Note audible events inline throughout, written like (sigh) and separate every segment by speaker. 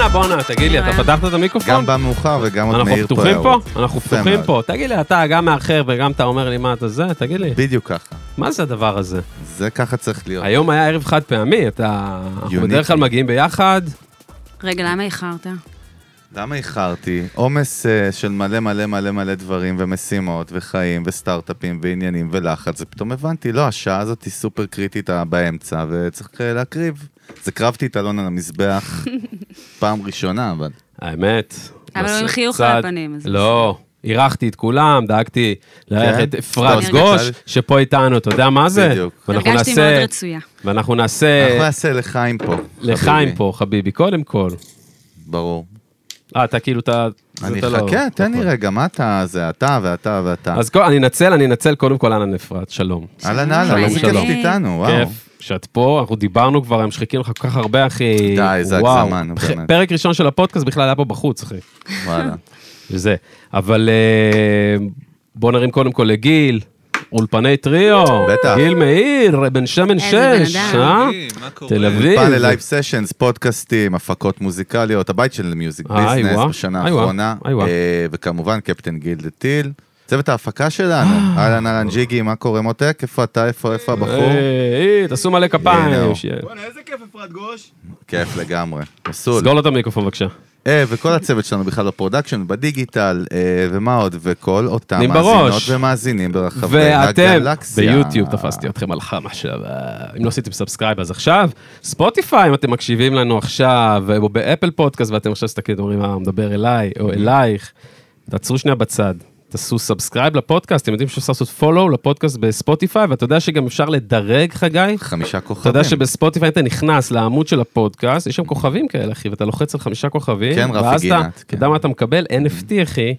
Speaker 1: הקורונה, תגיד לי,
Speaker 2: כן.
Speaker 1: אתה פתחת את המיקרופון?
Speaker 3: גם בא מאוחר וגם עוד
Speaker 1: אנחנו
Speaker 3: מאיר פה
Speaker 1: פתוחים פה?
Speaker 3: הערות.
Speaker 1: אנחנו
Speaker 3: יפה
Speaker 1: פתוחים
Speaker 3: מאוד.
Speaker 1: פה. תגיד לי, אתה גם מאחר וגם אתה אומר לי מה אתה זה, תגיד לי,
Speaker 3: בדיוק ככה.
Speaker 1: מה זה הדבר הזה?
Speaker 3: זה ככה צריך להיות.
Speaker 1: היום היה ערב חד פעמי, אתה... אנחנו
Speaker 3: יוניק.
Speaker 1: בדרך כלל מגיעים ביחד.
Speaker 2: רגע, למה איחרת?
Speaker 3: למה איחרתי? עומס אה, של מלא מלא מלא מלא דברים ומשימות וחיים וסטארט-אפים ועניינים ולחץ, ופתאום הבנתי, לא, השעה הזאת היא סופר קריטית אה, באמצע וצריך אה, להקריב. אז הקרבתי את אלון
Speaker 1: (laughs)
Speaker 3: על המזבח פעם ראשונה, אבל...
Speaker 1: האמת.
Speaker 2: אבל
Speaker 1: נעשה
Speaker 2: עם חיוך
Speaker 1: צעד-
Speaker 2: על הפנים, אז
Speaker 1: לא, אירחתי את כולם, דאגתי לארח
Speaker 3: כן?
Speaker 1: את אפרת
Speaker 3: טוב,
Speaker 1: גוש,
Speaker 3: בכלל-
Speaker 1: שפה איתנו, אתה יודע מה זה?
Speaker 3: בדיוק.
Speaker 1: ואנחנו
Speaker 2: הרגשתי
Speaker 1: נעשה-
Speaker 2: מאוד רצויה.
Speaker 1: ואנחנו
Speaker 3: אנחנו
Speaker 1: נעשה
Speaker 3: נעשה לחיים פה.
Speaker 1: אה, לחיים
Speaker 3: חביבי.
Speaker 1: פה, חביבי, קודם כל.
Speaker 3: ברור.
Speaker 1: אה, אתה כאילו, אתה... זה
Speaker 3: אני
Speaker 1: אתה לא-
Speaker 3: אחכה, תן לי
Speaker 1: נכון.
Speaker 3: רגע, מה אתה, זה אתה ואתה ואתה.
Speaker 1: אז כל- אני אנצל, אני אנצל קודם כל אהלן אפרת, שלום.
Speaker 3: אהלן אהלן,
Speaker 1: שלום,
Speaker 3: איזה
Speaker 1: שלום.
Speaker 3: כיף איתנו, וואו.
Speaker 1: כיף שאת פה, אנחנו דיברנו כבר היום, שחיכינו לך כל כך הרבה, אחי.
Speaker 3: די, זה
Speaker 1: וואו.
Speaker 3: הגזמן, באמת.
Speaker 1: פרק ראשון של הפודקאסט בכלל היה פה בחוץ, אחי.
Speaker 3: וואלה.
Speaker 1: זה. אבל אה, בוא נרים קודם כל לגיל, אולפני טריו.
Speaker 3: בטח.
Speaker 1: גיל מאיר, בן שמן
Speaker 2: איזה
Speaker 1: שש,
Speaker 2: בן אדם.
Speaker 1: אה?
Speaker 4: מה קורה?
Speaker 1: תל אביב.
Speaker 3: אולפן ללייב סשנס, פודקאסטים, הפקות מוזיקליות, הבית של מיוזיק
Speaker 1: איי,
Speaker 3: ביזנס
Speaker 1: וואה.
Speaker 3: בשנה
Speaker 1: איי, וואה.
Speaker 3: האחרונה,
Speaker 1: איי, וואה.
Speaker 3: אה, וכמובן קפטן גילדה טיל. צוות ההפקה שלנו, אהלן אהלן ג'יגי, מה קורה מותק? איפה אתה? איפה איפה הבחור?
Speaker 1: אה, אה, תעשו מלא כפיים.
Speaker 3: הנה,
Speaker 1: שיהיה.
Speaker 4: בואנה, איזה כיף אפרת גוש.
Speaker 3: כיף לגמרי, מסול.
Speaker 1: סגור לו את המיקרופון בבקשה.
Speaker 3: אה, וכל הצוות שלנו בכלל בפרודקשן, בדיגיטל, אה, ומה עוד? וכל אותם
Speaker 1: אני
Speaker 3: מאזינות
Speaker 1: בראש.
Speaker 3: ומאזינים ברחבי
Speaker 1: ואתם,
Speaker 3: הגלקסיה.
Speaker 1: ביוטיוב תפסתי אתכם על חם עכשיו, אם לא עשיתם סאבסקרייב אז עכשיו, ספוטיפיי אם אתם מקשיבים לנו עכשיו, או באפל פודקאסט ואתם עכשיו מסתכלים, אתם אומרים, אה, הוא מדבר אליי או
Speaker 3: Mm-hmm.
Speaker 1: אלייך, תעצרו שנייה בצד, תעשו סאבסקרייב לפודקאסט, אתם יודעים שאפשר לעשות פולו לפודקאסט בספוטיפיי, ואתה יודע שגם אפשר לדרג, חגי?
Speaker 3: חמישה כוכבים.
Speaker 1: אתה יודע שבספוטיפיי אתה נכנס לעמוד של הפודקאסט, יש שם כוכבים כאלה, אחי, ואתה לוחץ על חמישה כוכבים,
Speaker 3: כן, רפי
Speaker 1: ואז אתה,
Speaker 3: גינת,
Speaker 1: אתה יודע
Speaker 3: כן.
Speaker 1: מה אתה מקבל? NFT, אחי,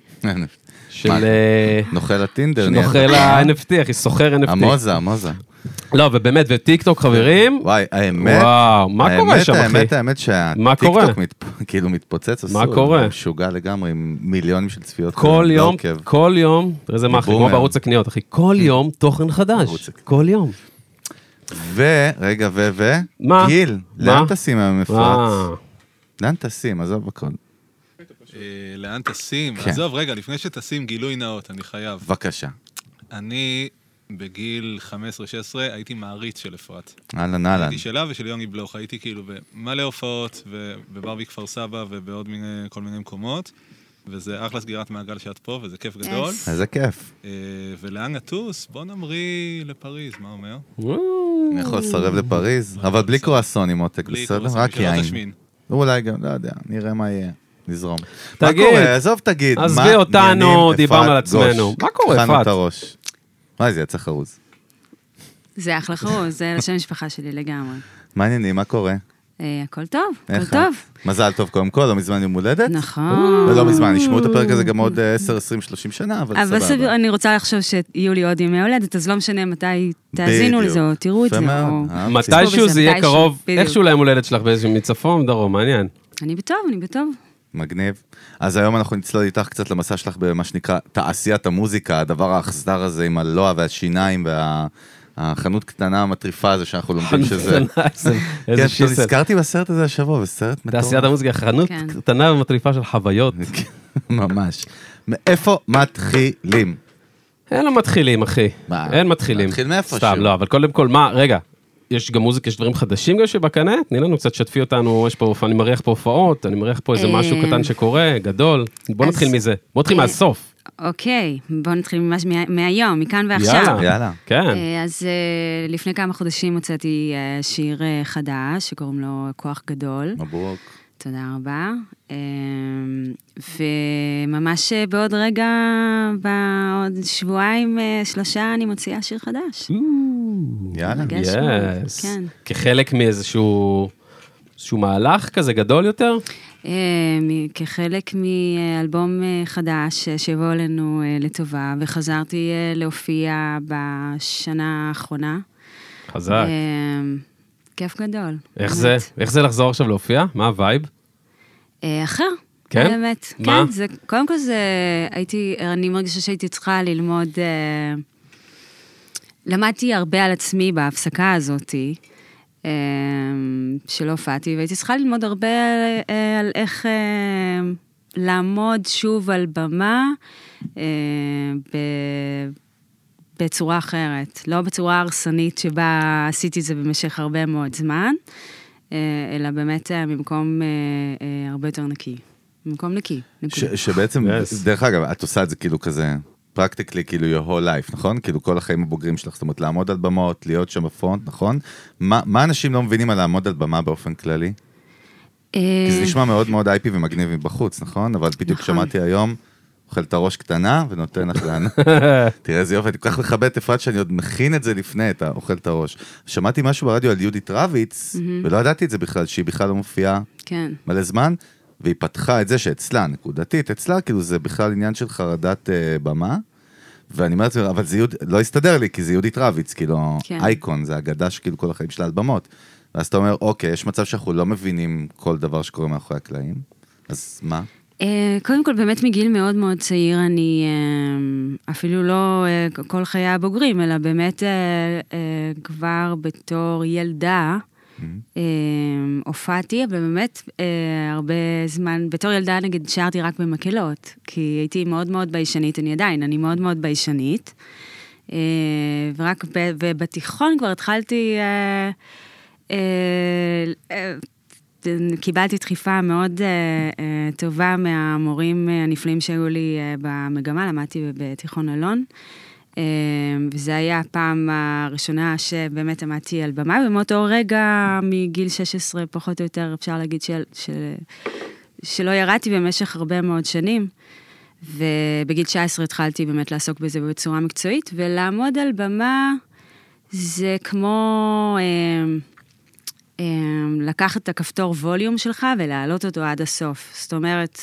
Speaker 1: של...
Speaker 3: מה?
Speaker 1: אה,
Speaker 3: (laughs) נוכל הטינדר. נהיה.
Speaker 1: שנוכל
Speaker 3: (laughs)
Speaker 1: ה-NFT, אחי, סוחר NFT.
Speaker 3: המוזה, המוזה.
Speaker 1: לא, ובאמת, וטיק טוק, חברים,
Speaker 3: וואי, האמת,
Speaker 1: וואו, מה קורה
Speaker 3: האמת,
Speaker 1: שם, אחי?
Speaker 3: האמת, האמת
Speaker 1: מה קורה?
Speaker 3: שהטיקטוק מת, כאילו מתפוצץ,
Speaker 1: מה
Speaker 3: אסור,
Speaker 1: קורה?
Speaker 3: הוא משוגע לגמרי, עם מיליונים של צפיות.
Speaker 1: כל יום,
Speaker 3: בעוקב.
Speaker 1: כל יום, תראה איזה מאחי, כמו
Speaker 3: בבומר.
Speaker 1: בערוץ הקניות, אחי, כל יום תוכן חדש,
Speaker 3: כן. בערוץ הקניות.
Speaker 1: כל יום.
Speaker 3: ו... רגע, ו... ו...
Speaker 1: מה?
Speaker 3: גיל,
Speaker 1: מה? אה.
Speaker 3: לאן טסים היום אפרת?
Speaker 1: וואו.
Speaker 3: לאן טסים? עזוב הכל.
Speaker 4: אה, לאן טסים?
Speaker 3: כן.
Speaker 4: עזוב, רגע, לפני שטסים, גילוי נאות, אני חייב.
Speaker 3: בבקשה.
Speaker 4: אני בגיל 15-16 הייתי מעריץ של אפרת.
Speaker 3: אהלן, אהלן.
Speaker 4: הייתי שלה ושל יוני בלוך, הייתי כאילו במלא הופעות, ובבר בכפר סבא ובעוד מיני, כל מיני מקומות, וזה אחלה סגירת מעגל שאת פה, וזה כיף גדול.
Speaker 2: Yes.
Speaker 3: איזה כיף.
Speaker 4: אה, ולאן נטוס? בוא נמריא לפריז, מה אומר?
Speaker 3: אוקיי. אני יכול לסרב לפריז, אבל בלי קרואסונים עותק,
Speaker 4: בלי
Speaker 3: בסדר?
Speaker 4: קרואסונים,
Speaker 3: רק
Speaker 4: שלא
Speaker 3: יין.
Speaker 4: תשמין.
Speaker 3: אולי גם, לא יודע, נראה מה יהיה. נזרום.
Speaker 1: תגיד.
Speaker 3: מה קורה? עזוב, תגיד.
Speaker 1: עזבי
Speaker 3: מה
Speaker 1: אותנו,
Speaker 3: עניינים,
Speaker 1: דיברנו
Speaker 3: אפרת
Speaker 1: על עצמנו.
Speaker 3: גוש?
Speaker 1: מה קורה,
Speaker 3: טחנו
Speaker 1: אפרת?
Speaker 3: את הראש. וואי, זה יצא חרוז.
Speaker 2: זה אחלה חרוז, זה לשם המשפחה שלי לגמרי.
Speaker 3: מה העניינים, מה קורה?
Speaker 2: אה, הכל טוב,
Speaker 3: איך
Speaker 2: הכל
Speaker 3: את?
Speaker 2: טוב.
Speaker 3: מזל טוב קודם כל, לא מזמן יום הולדת.
Speaker 2: נכון.
Speaker 3: לא מזמן, ישמעו את הפרק הזה גם עוד אה, 10, 20, 30 שנה, אבל
Speaker 2: אבל סביר,
Speaker 3: סבבה.
Speaker 2: אני רוצה לחשוב שיהיו לי עוד ימי הולדת, אז לא משנה מתי תאזינו לזה או תראו את זה. או-
Speaker 3: אה, אוקיי.
Speaker 2: תצפו
Speaker 1: מתישהו
Speaker 2: בזה,
Speaker 1: זה יהיה
Speaker 2: מתישהו,
Speaker 1: קרוב,
Speaker 2: בדיוק.
Speaker 1: איכשהו ליום הולדת שלך, באיזשהו מצפון, דרום,
Speaker 3: (laughs)
Speaker 1: מעניין.
Speaker 2: אני בטוב, אני בטוב.
Speaker 3: מגניב. אז היום אנחנו נצלול איתך קצת למסע שלך במה שנקרא תעשיית המוזיקה, הדבר האכזר הזה עם הלוע והשיניים וה... החנות קטנה המטריפה הזו שאנחנו לומדים שזה... כן,
Speaker 1: (laughs) איזה
Speaker 3: פתאום
Speaker 1: שיסל.
Speaker 3: נזכרתי בסרט הזה השבוע, בסרט מטורף.
Speaker 1: תעשיית המוזיקה, חנות
Speaker 2: כן.
Speaker 1: קטנה ומטריפה של חוויות.
Speaker 3: (laughs) כן, ממש. מאיפה מתחילים?
Speaker 1: אין לו מתחילים, אחי.
Speaker 3: מה?
Speaker 1: אין מתחילים.
Speaker 3: נתחיל מאיפשהו.
Speaker 1: סתם, לא, אבל קודם כל, מה, רגע, יש גם מוזיקה, יש דברים חדשים גם שבקנה? תני לנו קצת, שתפי אותנו, יש פה, הופעה, אני מריח פה הופעות, אני מריח פה איזה
Speaker 2: אה,
Speaker 1: משהו קטן שקורה, גדול. בוא
Speaker 2: אז-
Speaker 1: נתחיל מזה. בוא נתחיל
Speaker 2: אה,
Speaker 1: מהסוף.
Speaker 2: אוקיי, בואו נתחיל ממש מה- מהיום, מכאן ועכשיו.
Speaker 1: יאללה.
Speaker 3: יאללה.
Speaker 1: כן.
Speaker 2: אה, אז אה, לפני כמה חודשים הוצאתי אה, שיר אה, חדש, שקוראים לו כוח גדול.
Speaker 3: מברוק.
Speaker 2: תודה רבה. אה, וממש אה, בעוד רגע, בעוד שבועיים, אה, שלושה, אני מוציאה שיר
Speaker 1: Mm.
Speaker 2: חדש.
Speaker 3: יאללה.
Speaker 2: מרגש מאוד,
Speaker 1: יס.
Speaker 2: כן.
Speaker 1: כחלק מאיזשהו... איזשהו מהלך כזה גדול יותר?
Speaker 2: אה, מ- כחלק מאלבום אה, חדש אה, שיבוא עלינו אה, לטובה, וחזרתי אה, להופיע בשנה האחרונה.
Speaker 1: חזק.
Speaker 2: אה, כיף גדול.
Speaker 1: איך זה?
Speaker 2: באמת.
Speaker 1: איך זה לחזור עכשיו להופיע? מה הווייב?
Speaker 2: אה, אחר.
Speaker 1: כן?
Speaker 2: באמת.
Speaker 1: מה?
Speaker 2: כן, זה, קודם כל זה, הייתי, אני מרגישה שהייתי צריכה ללמוד, אה, למדתי הרבה על עצמי בהפסקה הזאתי. אה, שלא הופעתי, והייתי צריכה ללמוד הרבה על, אה, על איך אה, לעמוד שוב על במה אה, ב, בצורה אחרת, לא בצורה הרסנית שבה עשיתי את זה במשך הרבה מאוד זמן, אה, אלא באמת אה, ממקום אה, אה, הרבה יותר נקי. ממקום נקי,
Speaker 3: ש-
Speaker 2: נקודה.
Speaker 3: שבעצם,
Speaker 1: Yes.
Speaker 3: דרך אגב, את עושה את זה כאילו כזה, פרקטיקלי כאילו your whole life, נכון? כאילו כל החיים הבוגרים שלך, זאת אומרת לעמוד על במות, להיות שם בפרונט, נכון? מה מה אנשים לא מבינים על לעמוד על במה באופן כללי? כי
Speaker 2: אה,
Speaker 3: זה נשמע מאוד מאוד אייפי ומגניב מבחוץ, נכון? אבל בדיוק
Speaker 2: נכון.
Speaker 3: שמעתי היום, אוכל את הראש קטנה ונותן לך לאן. תראה איזה יופי, אני כל כך מכבד את אפרת שאני עוד מכין את זה לפני, את האוכל את הראש. שמעתי משהו ברדיו על יהודית רביץ, ולא ידעתי את זה בכלל, שהיא בכלל לא מופיעה
Speaker 2: כן.
Speaker 3: מלא זמן, והיא פתחה את זה שאצלה, נקודתית, אצלה, כאילו זה בכלל עניין של חרדת אה, במה. ואני אומר לעצמי, אבל זה יהוד, לא הסתדר לי, כי זה יהודית רביץ, כאילו,
Speaker 2: כן.
Speaker 3: אייקון, זה אגדה שכאילו כל החיים שלה על במות. ואז אתה אומר, אוקיי, יש מצב שאנחנו לא מבינים כל דבר שקורה מאחורי הקלעים, אז מה?
Speaker 2: אה, קודם כל, באמת מגיל מאוד מאוד צעיר, אני אה, אפילו לא אה, כל חיי הבוגרים, אלא באמת אה, אה, כבר בתור ילדה אה, הופעתי, אבל באמת אה, הרבה זמן, בתור ילדה נגיד שרתי רק במקהלות, כי הייתי מאוד מאוד ביישנית, אני עדיין, אני מאוד מאוד ביישנית. אה, ורק ב, ובתיכון כבר התחלתי... אה, אה, אה, קיבלתי דחיפה מאוד אה, אה, טובה מהמורים אה, הנפלאים שהיו לי אה, במגמה, למדתי בתיכון אלון. אה, וזה היה הפעם הראשונה שבאמת עמדתי על במה, ומאותו רגע, מגיל 16 פחות או יותר, אפשר להגיד של, של, שלא ירדתי במשך הרבה מאוד שנים. ובגיל 19 התחלתי באמת לעסוק בזה בצורה מקצועית, ולעמוד על במה זה כמו... אה, אמ, לקחת את הכפתור ווליום שלך ולהעלות אותו עד הסוף. זאת אומרת,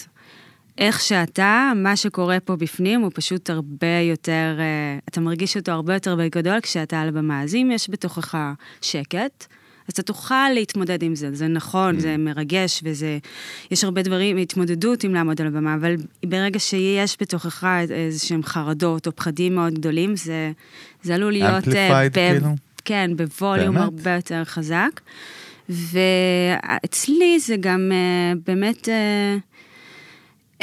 Speaker 2: איך שאתה, מה שקורה פה בפנים הוא פשוט הרבה יותר, אה, אתה מרגיש אותו הרבה יותר בגדול כשאתה על הבמה. אז אם יש בתוכך שקט, אז אתה תוכל להתמודד עם זה. זה נכון,
Speaker 3: Mm.
Speaker 2: זה מרגש וזה... יש הרבה דברים, התמודדות עם לעמוד על הבמה, אבל ברגע שיש בתוכך איזה שהם חרדות או פחדים מאוד גדולים, זה, זה עלול להיות... אה,
Speaker 3: Amplified, כאילו?
Speaker 2: כן, בווליום
Speaker 3: באמת?
Speaker 2: הרבה יותר חזק. ואצלי זה גם אה, באמת... אה,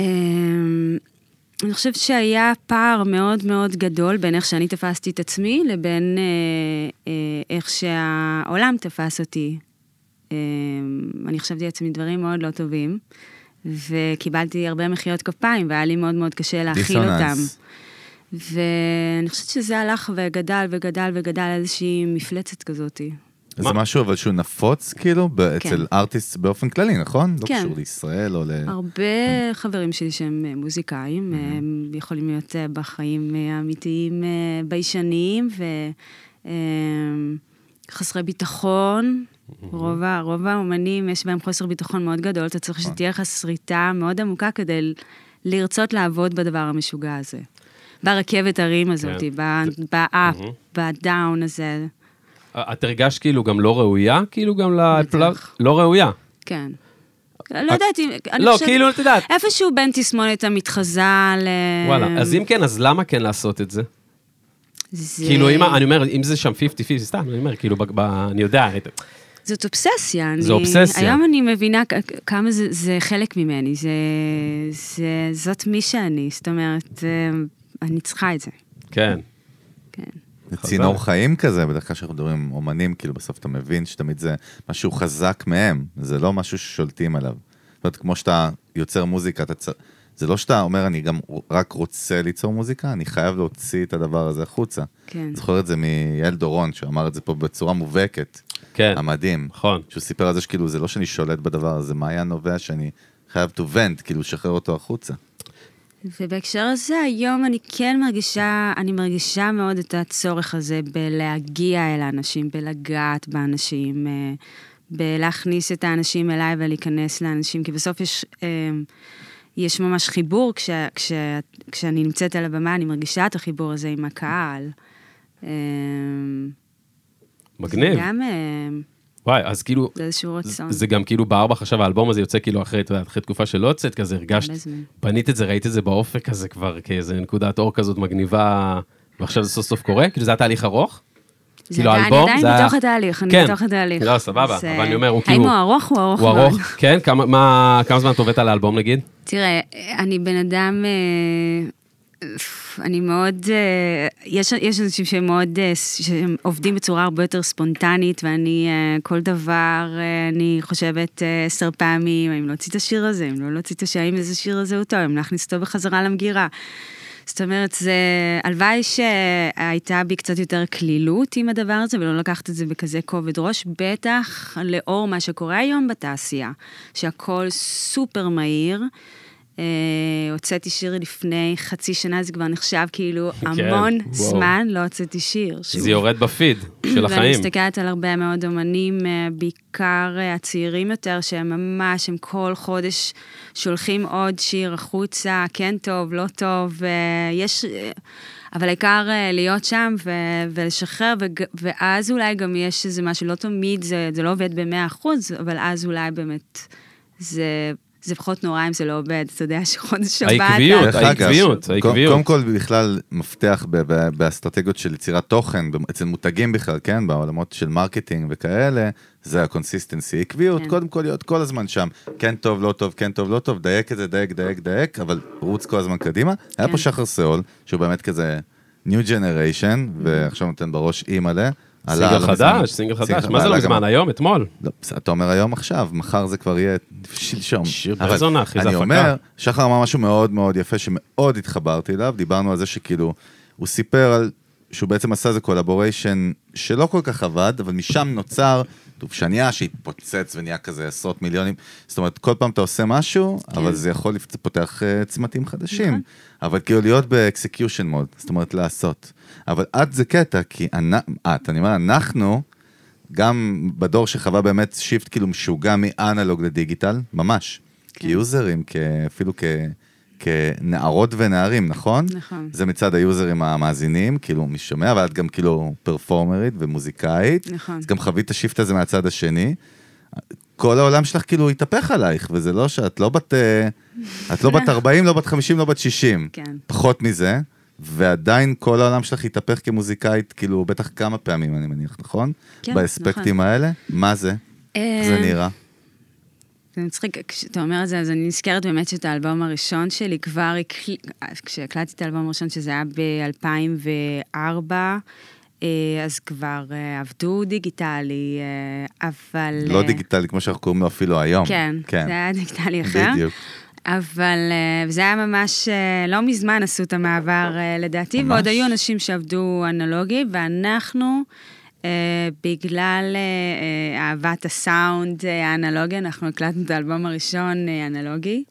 Speaker 2: אמ, אני חושבת שהיה פער מאוד מאוד גדול בין איך שאני תפסתי את עצמי לבין אה, אה, איך שהעולם תפס אותי. אמ, אני חשבתי לעצמי דברים מאוד לא טובים, וקיבלתי הרבה מחיאות כפיים, והיה לי מאוד מאוד קשה להכיל אותם.
Speaker 3: דיסוננס.
Speaker 2: ואני חושבת שזה הלך וגדל וגדל וגדל איזושהי מפלצת כזאתי.
Speaker 3: אז זה משהו אבל שהוא נפוץ כאילו, ב- אצל ארטיסט באופן כללי, נכון? לא
Speaker 2: כן.
Speaker 3: קשור לישראל או ל...
Speaker 2: הרבה חברים שלי שהם אה, מוזיקאים, הם יכולים להיות אה, בחיים אה, האמיתיים אה, ביישניים וחסרי ביטחון. רוב, ה- רוב האומנים, יש בהם חוסר ביטחון מאוד גדול, אתה צריך שתהיה לך שריטה מאוד עמוקה כדי ל- לרצות לעבוד בדבר המשוגע הזה. ברכבת הרים הזאת,
Speaker 1: כן.
Speaker 2: ב- באפ, בדאון הזה,
Speaker 1: את הרגשת כאילו גם לא ראויה, כאילו גם לפלאב?
Speaker 2: בטח.
Speaker 1: לא ראויה.
Speaker 2: כן. לא יודעת אם... אני
Speaker 1: לא,
Speaker 2: חושבת-
Speaker 1: כאילו, את יודעת.
Speaker 2: איפשהו בין תסמונת המתחזה ל... אמ,
Speaker 1: וואלה, אז אם כן, אז למה כן לעשות את זה?
Speaker 2: זה...
Speaker 1: כאילו, אם, ה- אני אומר, אם זה שם 50-50, סתם, אני אומר, כאילו, ב- ב- אני יודע, אני-
Speaker 2: זאת אובססיה. אני...
Speaker 1: זו אובססיה.
Speaker 2: היום אני מבינה כ- כמה זה, זה חלק ממני, זה, זה... זאת מי שאני, זאת אומרת, אה, אני צריכה את זה.
Speaker 1: כן.
Speaker 2: כן.
Speaker 3: זה צינור חיים כזה, בדרך כלל כשאנחנו מדברים עם אומנים, כאילו בסוף אתה מבין שתמיד זה משהו חזק מהם, זה לא משהו ששולטים עליו. זאת אומרת, כמו שאתה יוצר מוזיקה, אתה צר... זה לא שאתה אומר, אני גם רק רוצה ליצור מוזיקה, אני חייב להוציא את הדבר הזה החוצה.
Speaker 2: כן.
Speaker 3: אני זוכר את זה מיעל דורון, שאמר את זה פה בצורה מובהקת.
Speaker 1: כן.
Speaker 3: המדהים.
Speaker 1: נכון.
Speaker 3: שהוא סיפר על זה שכאילו, זה לא שאני שולט בדבר הזה, מה היה נובע שאני חייב to vent, כאילו, לשחרר אותו החוצה.
Speaker 2: ובהקשר הזה, היום אני כן מרגישה, אני מרגישה מאוד את הצורך הזה בלהגיע אל האנשים, בלגעת באנשים, אה, בלהכניס את האנשים אליי ולהיכנס לאנשים, כי בסוף יש, אה, יש ממש חיבור, כש, כש, כשאני נמצאת על הבמה, אני מרגישה את החיבור הזה עם הקהל. אה,
Speaker 1: מגניב.
Speaker 2: גם אה,
Speaker 1: וואי, אז כאילו,
Speaker 2: זה איזשהו רצון.
Speaker 1: זה גם כאילו בארבע חשב האלבום הזה יוצא כאילו אחרי, אתה יודע, אחרי תקופה שלא יוצאת כזה, הרגשת,
Speaker 2: הרבה זמן.
Speaker 1: בנית את זה, ראית את זה באופק הזה כבר, כאיזה נקודת אור כזאת מגניבה, ועכשיו זה סוף סוף קורה? כאילו זה היה תהליך ארוך?
Speaker 2: זה
Speaker 1: כאילו,
Speaker 2: עדיין-
Speaker 1: האלבום,
Speaker 2: אני
Speaker 1: זה
Speaker 2: עדיין
Speaker 1: היה-
Speaker 2: בתוך התהליך, אני
Speaker 1: כן.
Speaker 2: בתוך התהליך.
Speaker 1: לא, סבבה,
Speaker 2: אז,
Speaker 1: אבל אני אומר, הוא
Speaker 2: האם
Speaker 1: כאילו-
Speaker 2: הוא ארוך? הוא ארוך
Speaker 1: הוא
Speaker 2: מאוד.
Speaker 1: ארוך? כן? כמה מה- כמה זמן את עובדת על האלבום נגיד?
Speaker 2: תראה, אני בן אדם, אה, אני מאוד, אה, יש, יש אנשים שהם מאוד, אה, שהם עובדים בצורה הרבה יותר ספונטנית, ואני אה, כל דבר, אה, אני חושבת אה, עשר פעמים, האם להוציא את השיר הזה, האם לא להוציא את השיר, האם איזה שיר הזה הוא טוב, האם להכניס אותו בחזרה למגירה. זאת אומרת, זה... הלוואי שהייתה בי קצת יותר קלילות עם הדבר הזה, ולא לקחת את זה בכזה כובד ראש, בטח לאור מה שקורה היום בתעשייה, שהכל סופר מהיר. אה, הוצאתי שיר לפני חצי שנה, זה כבר נחשב כאילו
Speaker 1: (laughs) כן,
Speaker 2: המון
Speaker 1: וואו.
Speaker 2: זמן לא הוצאתי שיר. שוב.
Speaker 1: זה יורד בפיד של
Speaker 2: ואני
Speaker 1: החיים.
Speaker 2: מסתכלת על הרבה מאוד אומנים, אה, בעיקר אה, הצעירים יותר, שהם ממש, הם כל חודש שולחים עוד שיר החוצה, כן טוב, לא טוב, אה, יש... אה, אבל העיקר אה, להיות שם ו- ולשחרר, וג- ואז אולי גם יש איזה משהו, לא תמיד, זה, זה לא עובד ב-100%, אבל אז אולי באמת זה... זה פחות נורא אם זה לא עובד, אתה יודע שחודש הבא אתה...
Speaker 1: העקביות,
Speaker 3: דרך אגב,
Speaker 1: העקביות,
Speaker 3: קו-
Speaker 1: העקביות.
Speaker 3: קודם כל, בכלל, מפתח ב- ב- באסטרטגיות של יצירת תוכן, ב- אצל מותגים בכלל, כן, בעולמות של מרקטינג וכאלה, זה הקונסיסטנסי, עקביות,
Speaker 2: כן.
Speaker 3: קודם כל להיות כל הזמן שם, כן טוב, לא טוב, כן טוב, לא טוב, דייק את זה, דייק, דייק, דייק, אבל רוץ כל הזמן קדימה. היה פה
Speaker 2: כן.
Speaker 3: שחר סאול, שהוא באמת כזה New Generation, ועכשיו נותן בראש אי מלא. עלה
Speaker 1: סינגל
Speaker 3: לא מזמן.
Speaker 1: חדש, סינגל חדש, מה
Speaker 3: אבל
Speaker 1: זה לא
Speaker 3: עלה גם-
Speaker 1: מזמן? היום, אתמול.
Speaker 3: לא, בסדר, אתה אומר היום עכשיו, מחר זה כבר יהיה שלשום.
Speaker 1: שיר
Speaker 3: אבל
Speaker 1: באיזונה, אחי, זה
Speaker 3: אני
Speaker 1: הפקה.
Speaker 3: אומר, שחר אמר משהו מאוד מאוד יפה שמאוד התחברתי אליו, דיברנו על זה שכאילו, הוא סיפר על, שהוא בעצם עשה איזה קולבוריישן שלא כל כך עבד, אבל משם נוצר דובשניה שהתפוצץ ונהיה כזה עשרות מיליונים. זאת אומרת, כל פעם אתה עושה משהו,
Speaker 1: כן.
Speaker 3: אבל זה יכול לפ- פותח אה, צמתים
Speaker 1: נכון.
Speaker 3: חדשים. אבל כאילו להיות באקסקיושן מוד, זאת אומרת לעשות. אבל את זה קטע, כי אנ- את, אני אומר, אנחנו, גם בדור שחווה באמת שיפט כאילו משוגע מאנלוג לדיגיטל, ממש.
Speaker 2: כן.
Speaker 3: כיוזרים, אפילו כ... כנערות ונערים, נכון?
Speaker 2: נכון.
Speaker 3: זה מצד היוזרים המאזינים, כאילו, מי שומע, ואת גם כאילו פרפורמרית ומוזיקאית.
Speaker 2: נכון.
Speaker 3: אז גם חווית את השיפט הזה מהצד השני. כל העולם שלך כאילו התהפך עלייך, וזה לא שאת לא בת... אה, את לא
Speaker 2: (laughs)
Speaker 3: בת 40, לא בת 50, לא בת 60.
Speaker 2: כן.
Speaker 3: פחות מזה, ועדיין כל העולם שלך התהפך כמוזיקאית, כאילו, בטח כמה פעמים, אני מניח, נכון?
Speaker 2: כן,
Speaker 3: באספקטים
Speaker 2: נכון.
Speaker 3: האלה? מה זה? איך זה
Speaker 2: אה,
Speaker 3: נראה?
Speaker 2: זה מצחיק, כשאתה אומר את זה, אז אני נזכרת באמת שאת האלבום הראשון שלי כבר, הקל... כשהקלטתי את האלבום הראשון, שזה היה ב-2004, אז כבר אה, עבדו דיגיטלי, אה, אבל...
Speaker 3: לא
Speaker 2: אה,
Speaker 3: דיגיטלי, כמו שאנחנו קוראים לו אפילו היום.
Speaker 2: כן,
Speaker 3: כן.
Speaker 2: זה היה דיגיטלי אחר.
Speaker 3: בדיוק.
Speaker 2: אבל אה, זה היה ממש, אה, לא מזמן עשו את המעבר אה, לדעתי,
Speaker 3: ממש.
Speaker 2: ועוד היו אנשים שעבדו אנלוגי, ואנחנו, אה, בגלל אה, אה, אהבת הסאונד אה, האנלוגי, אנחנו הקלטנו את האלבום הראשון אה, אנלוגי.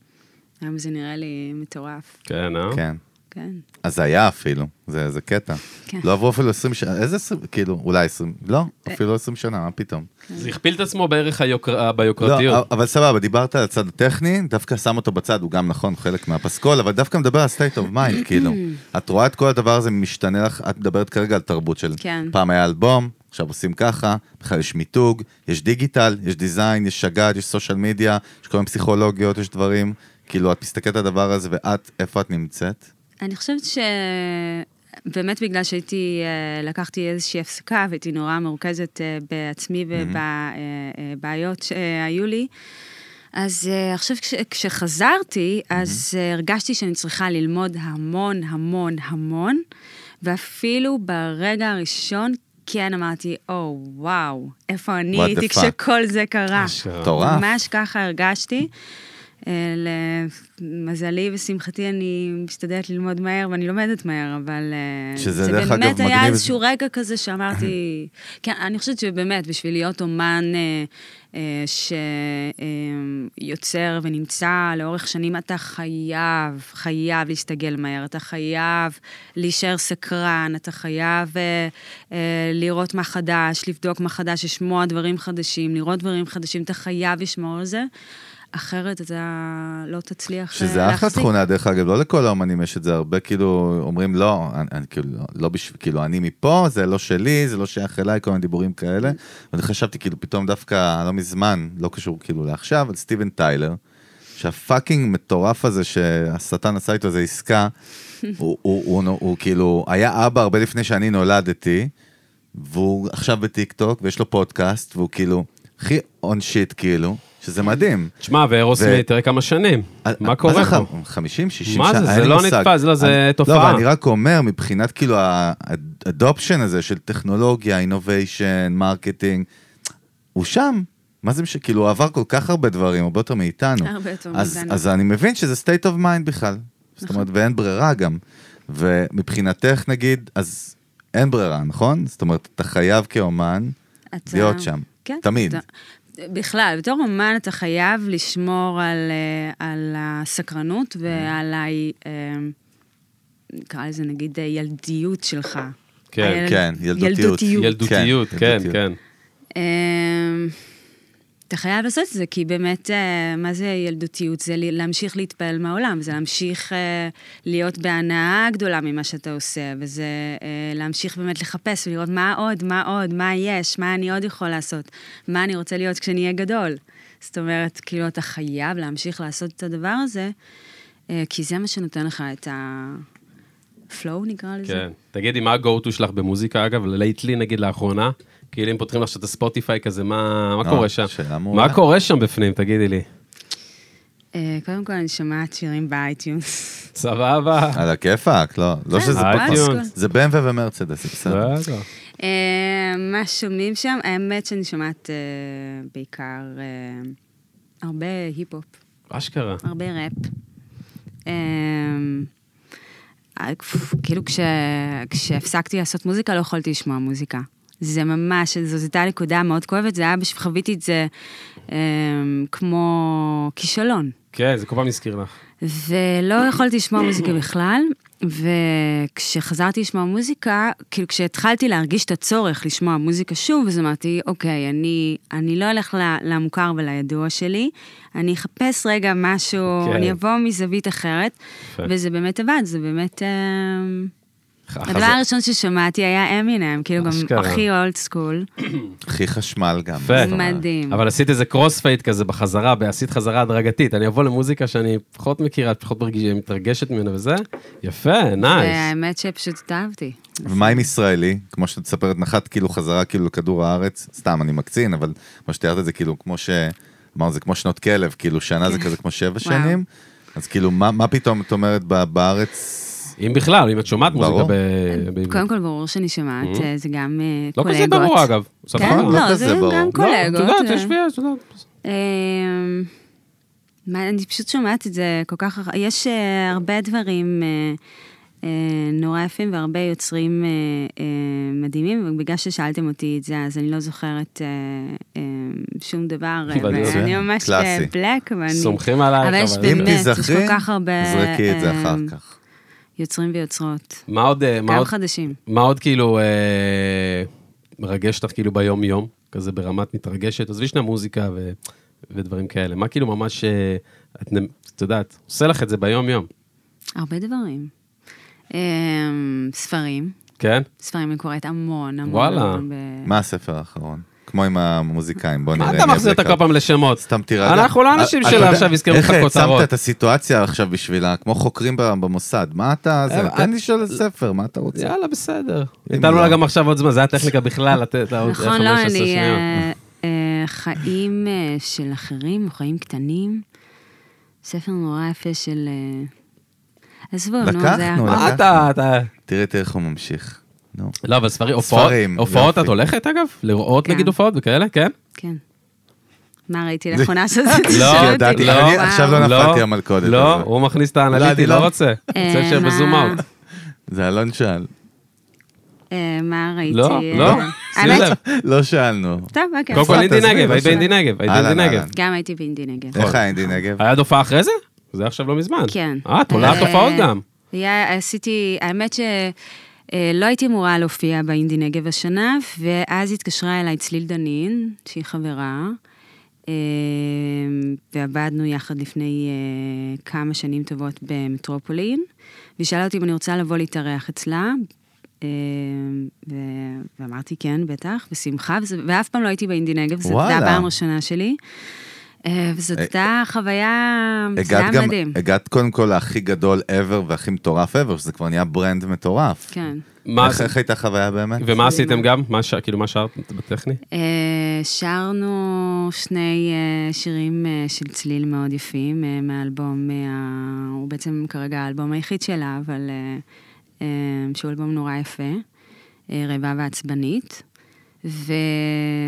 Speaker 2: היום זה נראה לי מטורף,
Speaker 1: כן, אה?
Speaker 3: כן.
Speaker 2: כן.
Speaker 3: אז זה היה אפילו, זה, זה קטע.
Speaker 2: כן. אה.
Speaker 3: לא עברו אפילו 20 שנה, איזה 20, כאילו, אולי 20, לא, אפילו 20 שנה, מה פתאום.
Speaker 1: זה הכפיל את עצמו בערך היוקר- אה,
Speaker 3: לא,
Speaker 1: ביוקרתיות.
Speaker 3: אבל סבבה, דיברת על הצד הטכני, דווקא שם אותו בצד, הוא גם נכון, חלק מהפסקול, אבל דווקא מדבר על state of mind, כאילו. את רואה את כל הדבר הזה משתנה לך, את מדברת כרגע על תרבות של
Speaker 2: כן.
Speaker 3: פעם היה אלבום, עכשיו עושים ככה, בכלל יש מיתוג, יש דיגיטל, יש דיזיין, יש שג"ד, יש סושיאל מדיה, יש כל מיני פסיכולוגיות, יש דברים. כאילו, את מסתכלת על הדבר הזה, ואת, איפה את נמצאת?
Speaker 2: אני חושבת שבאמת בגלל שהייתי, אה, לקחתי איזושהי הפסקה והייתי נורא מרוכזת אה, בעצמי ובבעיות שהיו לי, אז אה, עכשיו כש, כשחזרתי, אז אה, הרגשתי שאני צריכה ללמוד המון, המון, המון, ואפילו ברגע הראשון כן אמרתי, או, וואו, איפה אני
Speaker 3: What the
Speaker 2: הייתי
Speaker 3: fuck?"
Speaker 2: כשכל זה קרה.
Speaker 1: אשכרה.
Speaker 3: מטורף.
Speaker 2: ממש ככה הרגשתי. אה, למזלי ושמחתי, אני משתדלת ללמוד מהר, ואני לומדת מהר, אבל... אה,
Speaker 3: שזה
Speaker 2: זה
Speaker 3: דרך אגב
Speaker 2: באמת היה
Speaker 3: מגניב.
Speaker 2: איזשהו רגע כזה שאמרתי... כן, אני חושבת שבאמת, בשביל להיות אומן אה, שיוצר ונמצא לאורך שנים, אתה חייב, חייב להסתגל מהר, אתה חייב להישאר סקרן, אתה חייב אה, אה, לראות מה חדש, לבדוק מה חדש, לשמוע דברים חדשים, לראות דברים חדשים, אתה חייב לשמור על זה. אחרת אתה לא תצליח אה,
Speaker 3: שזה אחלה
Speaker 2: להחזיק.
Speaker 3: תכונה, דרך אגב, לא לכל האומנים יש את זה, הרבה כאילו אומרים לא, אני, אני כאילו, לא- לא בשביל, כאילו, אני מפה, זה לא שלי, זה לא שייך אליי, כל מיני דיבורים כאלה. ואני חשבתי כאילו, פתאום דווקא לא מזמן, לא קשור כאילו לעכשיו, על סטיבן טיילר, שהפאקינג מטורף הזה שהשטן עשה איתו איזה
Speaker 2: (laughs)
Speaker 3: עסקה, הוא, הוא, הוא, הוא, הוא כאילו, היה אבא הרבה לפני שאני נולדתי, והוא עכשיו בטיקטוק, ויש לו פודקאסט, והוא כאילו, הכי און שיט כאילו, שזה מדהים.
Speaker 1: תשמע,
Speaker 3: ו- אה,
Speaker 1: ואירוסמית, תראה כמה שנים. מה קורה
Speaker 3: זה
Speaker 1: פה?
Speaker 3: ח- 50, 60 שנה,
Speaker 1: מה זה? זה
Speaker 3: אין לי
Speaker 1: לא
Speaker 3: מושג.
Speaker 1: נתפס, לא, זה
Speaker 3: אני- לא,
Speaker 1: תופעה.
Speaker 3: אבל אני רק אומר, מבחינת כאילו האדופשן הזה של טכנולוגיה, אינוביישן, מרקטינג, הוא שם. מה זה משנה? כאילו, הוא עבר כל כך הרבה דברים, הרבה יותר מאיתנו.
Speaker 2: הרבה יותר
Speaker 3: אז-
Speaker 2: מאיתנו. נכון.
Speaker 3: אז אני מבין שזה state of mind בכלל. זאת אומרת, ואין ברירה גם. ומבחינתך, נגיד, אז אין ברירה, נכון? זאת אומרת, אתה חייב כאומן
Speaker 2: אתה-
Speaker 3: להיות שם.
Speaker 2: כן.
Speaker 3: תמיד.
Speaker 2: אתה- בכלל, בתור אומן אתה חייב לשמור על, אה, על הסקרנות
Speaker 3: Mm-hmm.
Speaker 2: ועל ה... אה, נקרא לזה נגיד אה, ילדיות שלך.
Speaker 1: כן,
Speaker 2: הילד-
Speaker 3: כן, ילדותיות.
Speaker 2: ילדותיות.
Speaker 1: ילדותיות,
Speaker 3: כן,
Speaker 1: כן,
Speaker 3: ילדותיות.
Speaker 1: כן.
Speaker 2: אמ, אתה חייב לעשות את זה, כי באמת, אה, מה זה ילדותיות? זה ל- להמשיך להתפעל מהעולם, זה להמשיך אה, להיות בהנאה גדולה ממה שאתה עושה, וזה אה, להמשיך באמת לחפש ולראות מה עוד, מה עוד, מה יש, מה אני עוד יכול לעשות, מה אני רוצה להיות כשאני אהיה גדול. זאת אומרת, כאילו, אתה חייב להמשיך לעשות את הדבר הזה, אה, כי זה מה שנותן לך את ה-flow, נקרא לזה.
Speaker 1: כן. תגידי, מה ה-go-to שלך במוזיקה, אגב? לייטלי, נגיד, לאחרונה? כאילו, אם פותחים לך עכשיו את הספוטיפיי כזה, מה מה
Speaker 3: אה,
Speaker 1: קורה שם?
Speaker 3: שאלה מעולה.
Speaker 1: מה קורה שם בפנים, תגידי לי.
Speaker 2: אה, קודם כל, אני שומעת שירים באייטיונס. (laughs)
Speaker 1: סבבה.
Speaker 3: על הכיפאק, לא, לא
Speaker 2: כן,
Speaker 3: שזה פודקאסט.
Speaker 1: אייטיונס.
Speaker 3: זה BMW ומרצדס, זה בסדר.
Speaker 1: בסדר.
Speaker 2: אה, מה שומעים שם? האמת שאני שומעת אה, בעיקר אה, הרבה היפ-הופ,
Speaker 1: אשכרה.
Speaker 2: הרבה ראפ. אה, אה, כפ- כאילו כש, כשהפסקתי לעשות מוזיקה לא יכולתי לשמוע מוזיקה. זה ממש, זו זו הייתה נקודה מאוד כואבת, זה היה, בש- חוויתי את זה אה, כמו כישלון.
Speaker 1: כן, זה כל פעם הזכיר לך.
Speaker 2: ולא יכולתי לשמוע מוזיקה בכלל, וכשחזרתי לשמוע מוזיקה, כאילו כשהתחלתי להרגיש את הצורך לשמוע מוזיקה שוב, אז אמרתי, אוקיי, אני, אני לא אלך ל- למוכר ולידוע שלי, אני אחפש רגע משהו,
Speaker 1: כן.
Speaker 2: כן. אני אבוא מזווית אחרת,
Speaker 1: יפה.
Speaker 2: וזה באמת עבד, זה באמת... אה,
Speaker 1: החז-
Speaker 2: הדבר הראשון ששמעתי היה אמינם, כאילו גם
Speaker 1: אשכרה.
Speaker 2: הכי אולד סקול,
Speaker 3: הכי חשמל גם.
Speaker 1: יפה.
Speaker 3: זאת אומרת.
Speaker 2: מדהים.
Speaker 1: אבל עשית איזה קרוספייט כזה בחזרה, עשית חזרה הדרגתית. אני אבוא למוזיקה שאני פחות מכירה, פחות מרגיש- מתרגשת ממנה וזה. יפה, נייס.
Speaker 2: והאמת שפשוט התאהבתי.
Speaker 3: ומה עם ישראלי? כמו שאת מספרת, נחת כאילו חזרה כאילו לכדור הארץ, סתם, אני מקצין, אבל כמו שתיארת את זה, כאילו, כמו ש... אמרנו, זה כמו שנות כלב, כאילו, שנה זה כזה כמו שבע
Speaker 2: כן. וואו.
Speaker 3: שנים. אז כאילו, מה מה פתאום את אומרת ב- בארץ?
Speaker 1: אם בכלל, אם את שומעת מוזיקה
Speaker 3: ברור.
Speaker 1: ב- בעברית.
Speaker 2: קודם כל, ברור שאני שומעת, אה, זה גם אה,
Speaker 1: לא
Speaker 2: קולגות.
Speaker 1: כזה ברור, אגב. סבבה.
Speaker 2: כן,
Speaker 3: לא
Speaker 2: לא, זה
Speaker 3: כזה ברור. לא,
Speaker 2: גם
Speaker 3: את
Speaker 1: לא, את
Speaker 2: קולגות.
Speaker 1: יודעת,
Speaker 2: אה.
Speaker 1: יש ויש, את יודעת.
Speaker 2: אמ, מה, אני פשוט שומעת את זה כל כך, הר- יש אה, הרבה דברים אה, אה, נורא יפים והרבה יוצרים אה, אה, מדהימים, ובגלל ששאלתם אותי את זה, אז אני לא זוכרת אה, אה, שום דבר. אה,
Speaker 1: בדיוק.
Speaker 2: אני ממש אה,
Speaker 3: קלאסי.
Speaker 2: בלק, אבל אני...
Speaker 1: סומכים עלייך,
Speaker 2: אבל יש
Speaker 1: אבל-
Speaker 3: אם
Speaker 2: באמת, יש
Speaker 3: תיזכרי,
Speaker 2: כל כך הרבה,
Speaker 3: זרקי את זה אחר
Speaker 2: אמ,
Speaker 3: כך.
Speaker 2: יוצרים ויוצרות,
Speaker 1: מה עוד, אה, מה
Speaker 2: גם
Speaker 1: עוד,
Speaker 2: חדשים.
Speaker 1: מה עוד כאילו אה, מרגש אותך כאילו ביום-יום, כזה ברמת מתרגשת, עזבי שנייה מוזיקה ו, ודברים כאלה, מה כאילו ממש, אה, את, נ- את יודעת, עושה לך את זה ביום-יום,
Speaker 2: הרבה דברים. אמ, ספרים,
Speaker 1: כן?
Speaker 2: ספרים אני קוראת המון, המון.
Speaker 1: וואלה.
Speaker 2: המון ב-
Speaker 3: מה הספר האחרון? כמו עם המוזיקאים, בוא נראה.
Speaker 1: מה
Speaker 3: אם
Speaker 1: אתה
Speaker 3: יהיה
Speaker 1: מחזיר אותה
Speaker 3: בקו.
Speaker 1: כל פעם לשמות?
Speaker 3: סתם תירגע. אה,
Speaker 1: אנחנו לא אנשים
Speaker 3: אתה
Speaker 1: של
Speaker 3: יודע,
Speaker 1: עכשיו יזכרו לך
Speaker 3: איך
Speaker 1: כותרות.
Speaker 3: העצמת את הסיטואציה עכשיו בשבילה? כמו חוקרים ב- במוסד. מה אתה... זה?
Speaker 1: אה,
Speaker 3: תן
Speaker 1: אה,
Speaker 3: לי לשאול על ספר, מה אתה רוצה?
Speaker 1: יאללה, בסדר. ניתנו לה
Speaker 3: לא.
Speaker 1: גם עכשיו עוד זמן, זה היה טכניקה בכלל, לתת לה עוד
Speaker 2: נכון, לא,
Speaker 1: 15
Speaker 2: אני...
Speaker 1: שניות.
Speaker 2: אה, אה, חיים אה, של אחרים, חיים קטנים. ספר נורא יפה של... אה, עזבו, נו, זה היה...
Speaker 3: לקחנו, לקחנו.
Speaker 1: מה אתה, אתה...
Speaker 3: תראי תראה איך הוא ממשיך. נו.
Speaker 1: לא, אבל ספרים, הופעות,
Speaker 3: ספרים,
Speaker 1: הופעות
Speaker 3: יופי.
Speaker 1: את הולכת אגב? לראות
Speaker 2: כן.
Speaker 1: נגיד הופעות וכאלה, כן?
Speaker 2: כן. מה ראיתי לאחרונה
Speaker 3: (laughs)
Speaker 2: שזה תשאל
Speaker 1: לא,
Speaker 2: אותי?
Speaker 3: ידעתי,
Speaker 1: לא,
Speaker 3: אני עכשיו לא
Speaker 1: לא,
Speaker 3: נפלתי המלכודת
Speaker 1: לא,
Speaker 3: הזאת.
Speaker 1: הוא מכניס את
Speaker 3: לא, אני
Speaker 1: האנליטי,
Speaker 3: לא.
Speaker 1: לא רוצה. רוצה
Speaker 2: אה,
Speaker 1: שבזום
Speaker 2: מה?
Speaker 1: אאוט.
Speaker 3: זה אלון שאל. (laughs)
Speaker 2: אה, מה ראיתי?
Speaker 1: לא,
Speaker 2: אה,
Speaker 1: לא, שים
Speaker 2: האמת?
Speaker 1: לב.
Speaker 3: לא שאלנו.
Speaker 2: טוב, אוקיי.
Speaker 1: קודם כל
Speaker 3: בסדר,
Speaker 1: אינדי
Speaker 3: תעזבי,
Speaker 1: נגב,
Speaker 3: לא
Speaker 1: היית
Speaker 3: משנה.
Speaker 1: באינדי נגב, היית
Speaker 3: אהלן,
Speaker 1: באינדי נגב.
Speaker 3: אהלן.
Speaker 2: גם הייתי באינדי
Speaker 1: נכון.
Speaker 2: נגב.
Speaker 3: איך האינדי נגב?
Speaker 2: אה,
Speaker 1: היה עוד הופעה אחרי זה? זה היה עכשיו לא מזמן.
Speaker 2: כן.
Speaker 1: אה, את עולה
Speaker 2: אה,
Speaker 1: תופעות גם.
Speaker 2: היה, עשיתי, האמת שלא הייתי אמורה להופיע באינדי נגב השנה, ואז התקשרה אליי צליל דנין, שהיא חברה, אה, ועבדנו יחד לפני אה, כמה שנים טובות במטרופולין, והיא שאלה אותי אם אני רוצה לבוא להתארח אצלה. אה, ו... ואמרתי כן, בטח, בשמחה, וזה... ואף פעם לא הייתי באינדי נגב, זו הייתה
Speaker 3: וואלה.
Speaker 2: הפעם הראשונה שלי. אה, וזאת הייתה חוויה, זה
Speaker 3: הגעת
Speaker 2: היה
Speaker 3: גם,
Speaker 2: מדהים.
Speaker 3: הגעת קודם כל להכי גדול ever והכי מטורף ever, שזה כבר נהיה ברנד מטורף.
Speaker 2: כן.
Speaker 1: מה-
Speaker 3: איך, איך הייתה החוויה באמת?
Speaker 1: ומה עשיתם גם? מה ש- כאילו, מה שרת בטכני?
Speaker 2: אה, שרנו שני אה, שירים אה, של צליל מאוד יפים אה, מהאלבום, אה, ה- הוא בעצם כרגע האלבום היחיד שלה, אבל אה, אה, שהוא אלבום נורא יפה, אה, רעבה ועצבנית.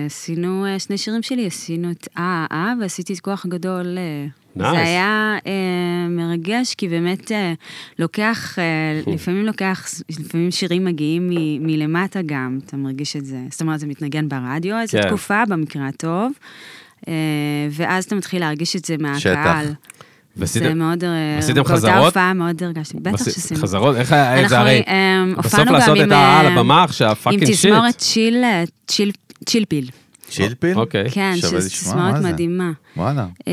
Speaker 2: ועשינו אה, שני שירים שלי, עשינו את אה אה ועשיתי את כוח גדול. אה.
Speaker 1: Nice.
Speaker 2: זה היה אה, מרגש, כי באמת אה, לוקח,
Speaker 1: (laughs)
Speaker 2: אה, לפעמים לוקח, לפעמים שירים מגיעים מ, מלמטה גם, אתה מרגיש את זה. זאת אומרת, זה מתנגן ברדיו איזו
Speaker 1: כן.
Speaker 2: כן. תקופה, במקרה הטוב, אה, ואז אתה מתחיל להרגיש את זה
Speaker 3: שטח.
Speaker 2: מהקהל. זה
Speaker 1: ועשיתם-
Speaker 2: מאוד... אה,
Speaker 1: עשיתם
Speaker 2: באותה
Speaker 1: חזרות?
Speaker 2: הופעה מאוד הרגשתי, בטח
Speaker 1: עשי-
Speaker 2: שעשינו.
Speaker 1: חזרות? איך היה את
Speaker 2: אנחנו,
Speaker 1: זה הרי?
Speaker 2: אה,
Speaker 1: בסוף
Speaker 2: הופענו
Speaker 1: לעשות
Speaker 2: גם
Speaker 1: את
Speaker 2: עם,
Speaker 1: ה- על
Speaker 2: אה,
Speaker 1: הבמה עכשיו,
Speaker 2: עם
Speaker 1: פאקינג שיט.
Speaker 2: תזמורת צ'יל, אה, צ'יל, צ'יל פיל.
Speaker 3: צ'ילפיל?
Speaker 1: אוקיי.
Speaker 2: כן,
Speaker 3: שווה
Speaker 2: שזו
Speaker 3: לשמוע,
Speaker 2: תזמורת
Speaker 3: מה זה?
Speaker 2: מדהימה.
Speaker 3: וואלה,
Speaker 2: אה,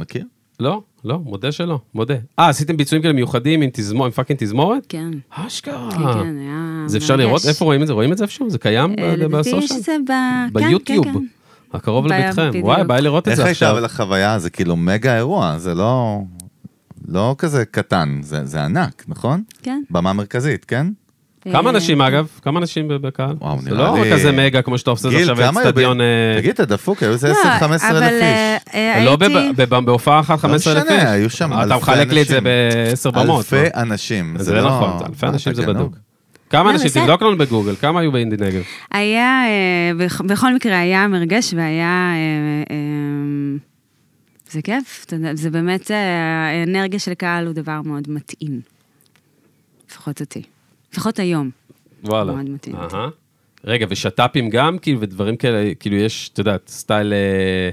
Speaker 3: מכיר?
Speaker 1: לא, לא, מודה שלא, מודה. אה, עשיתם ביצועים כאלה מיוחדים עם תזמור- עם פאקינג תזמורת?
Speaker 2: כן, כן,
Speaker 1: אשכרה.
Speaker 2: כן, היה
Speaker 1: אה, זה אפשר
Speaker 2: מרגש.
Speaker 1: לראות? איפה רואים את זה? רואים את זה איפשהו? זה קיים ב-
Speaker 2: אה, לדעתי
Speaker 1: בסושיאל?
Speaker 2: שזה ב... כן, כן,
Speaker 1: ביוטיוב.
Speaker 2: כן.
Speaker 1: הקרוב
Speaker 2: ב-
Speaker 1: לביתכם.
Speaker 2: בדיוק.
Speaker 1: וואי, בא לי לראות את
Speaker 3: איך
Speaker 1: זה
Speaker 3: הייתה
Speaker 1: עכשיו.
Speaker 3: אבל החוויה? זה כאילו מגה אירוע, זה לא... לא כזה קטן, זה, זה ענק, נכון?
Speaker 2: כן.
Speaker 3: במה מרכזית, כן?
Speaker 1: כמה
Speaker 2: אה,
Speaker 1: אנשים אגב? כמה אנשים ב- בקהל?
Speaker 3: וואו,
Speaker 1: זה
Speaker 3: נראה
Speaker 1: לא
Speaker 3: לי-
Speaker 1: כזה מגה כמו שאתה עושה את זה
Speaker 3: גיל,
Speaker 1: עכשיו
Speaker 3: כמה היו? ב-
Speaker 1: באצטדיון... אה,
Speaker 3: תגיד, אתה דפוק, היו איזה
Speaker 2: לא,
Speaker 3: 10-15 אלף
Speaker 2: אבל, אה,
Speaker 3: איש.
Speaker 2: אה,
Speaker 1: לא,
Speaker 2: הייתי-
Speaker 1: בב- בב- בהופעה אחת 15 אלף
Speaker 3: לא משנה, היו שם
Speaker 1: אתה
Speaker 3: אלפי
Speaker 1: מחלק לי את זה
Speaker 3: אנשים.
Speaker 1: בעשר במות.
Speaker 3: אלפי אנשים,
Speaker 1: זה
Speaker 3: לא...
Speaker 1: נכון, זה אלפי
Speaker 3: מה,
Speaker 1: אנשים
Speaker 3: אתה
Speaker 1: זה
Speaker 3: גנוב?
Speaker 1: בדוק. כמה
Speaker 2: לא,
Speaker 1: אנשים?
Speaker 2: בסדר.
Speaker 1: תבדוק לנו בגוגל, כמה היו באינדי נגב?
Speaker 2: היה, אה, בכ- בכל מקרה, היה מרגש והיה... אה, אה, זה כיף, אתה יודע, זה באמת, אה, האנרגיה של קהל הוא דבר מאוד מטעין. לפחות אותי. לפחות היום.
Speaker 1: וואלה.
Speaker 2: מאוד מתאים.
Speaker 1: אהה. רגע, ושת"פים גם, כאילו, ודברים כאלה, כאילו, יש, את יודעת, סטייל... אה,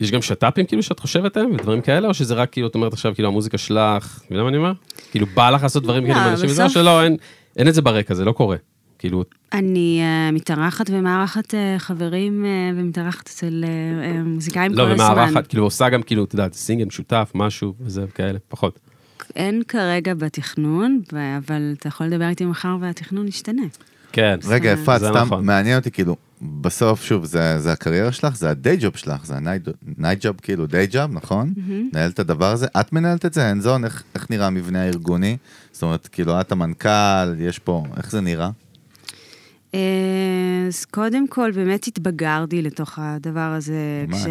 Speaker 1: יש גם שת"פים, כאילו, שאת חושבת עליהם, ודברים כאלה, או שזה רק, כאילו, את אומרת עכשיו, כאילו, המוזיקה שלך, אתה יודע מה אני אומר? כאילו, בא לך לעשות דברים
Speaker 2: לא,
Speaker 1: כאלה עם אנשים, זה
Speaker 2: בסוף-
Speaker 1: שלא, אין- אין את זה ברקע, זה לא קורה. כאילו,
Speaker 2: אני אה, מתארחת ומארחת אה, חברים אה, ומתארחת אצל אה, אה, מוזיקאים כל
Speaker 1: לא,
Speaker 2: הזמן.
Speaker 1: במארחת, כאילו, עושה גם, כאילו, את יודעת, סינגל משותף, משהו, וזה, כאלה, פחות.
Speaker 2: אין כרגע בתכנון, ו- אבל אתה יכול לדבר איתי מחר והתכנון ישתנה.
Speaker 1: כן.
Speaker 3: רגע,
Speaker 2: אה.
Speaker 3: אפרת,
Speaker 1: זה
Speaker 3: סתם
Speaker 1: נכון.
Speaker 3: מעניין אותי, כאילו, בסוף, שוב, זה זה הקריירה שלך, זה הדיי ג'וב שלך, זה הנייט ג'וב, כאילו, דיי ג'וב, נכון? מנהלת את הדבר הזה, את מנהלת את זה, אין זון, איך איך נראה המבנה הארגוני? זאת אומרת, כאילו, את המנכ"ל, יש פה, איך זה נראה?
Speaker 2: אה, אז קודם כל, באמת התבגרתי לתוך הדבר הזה.
Speaker 3: ממש.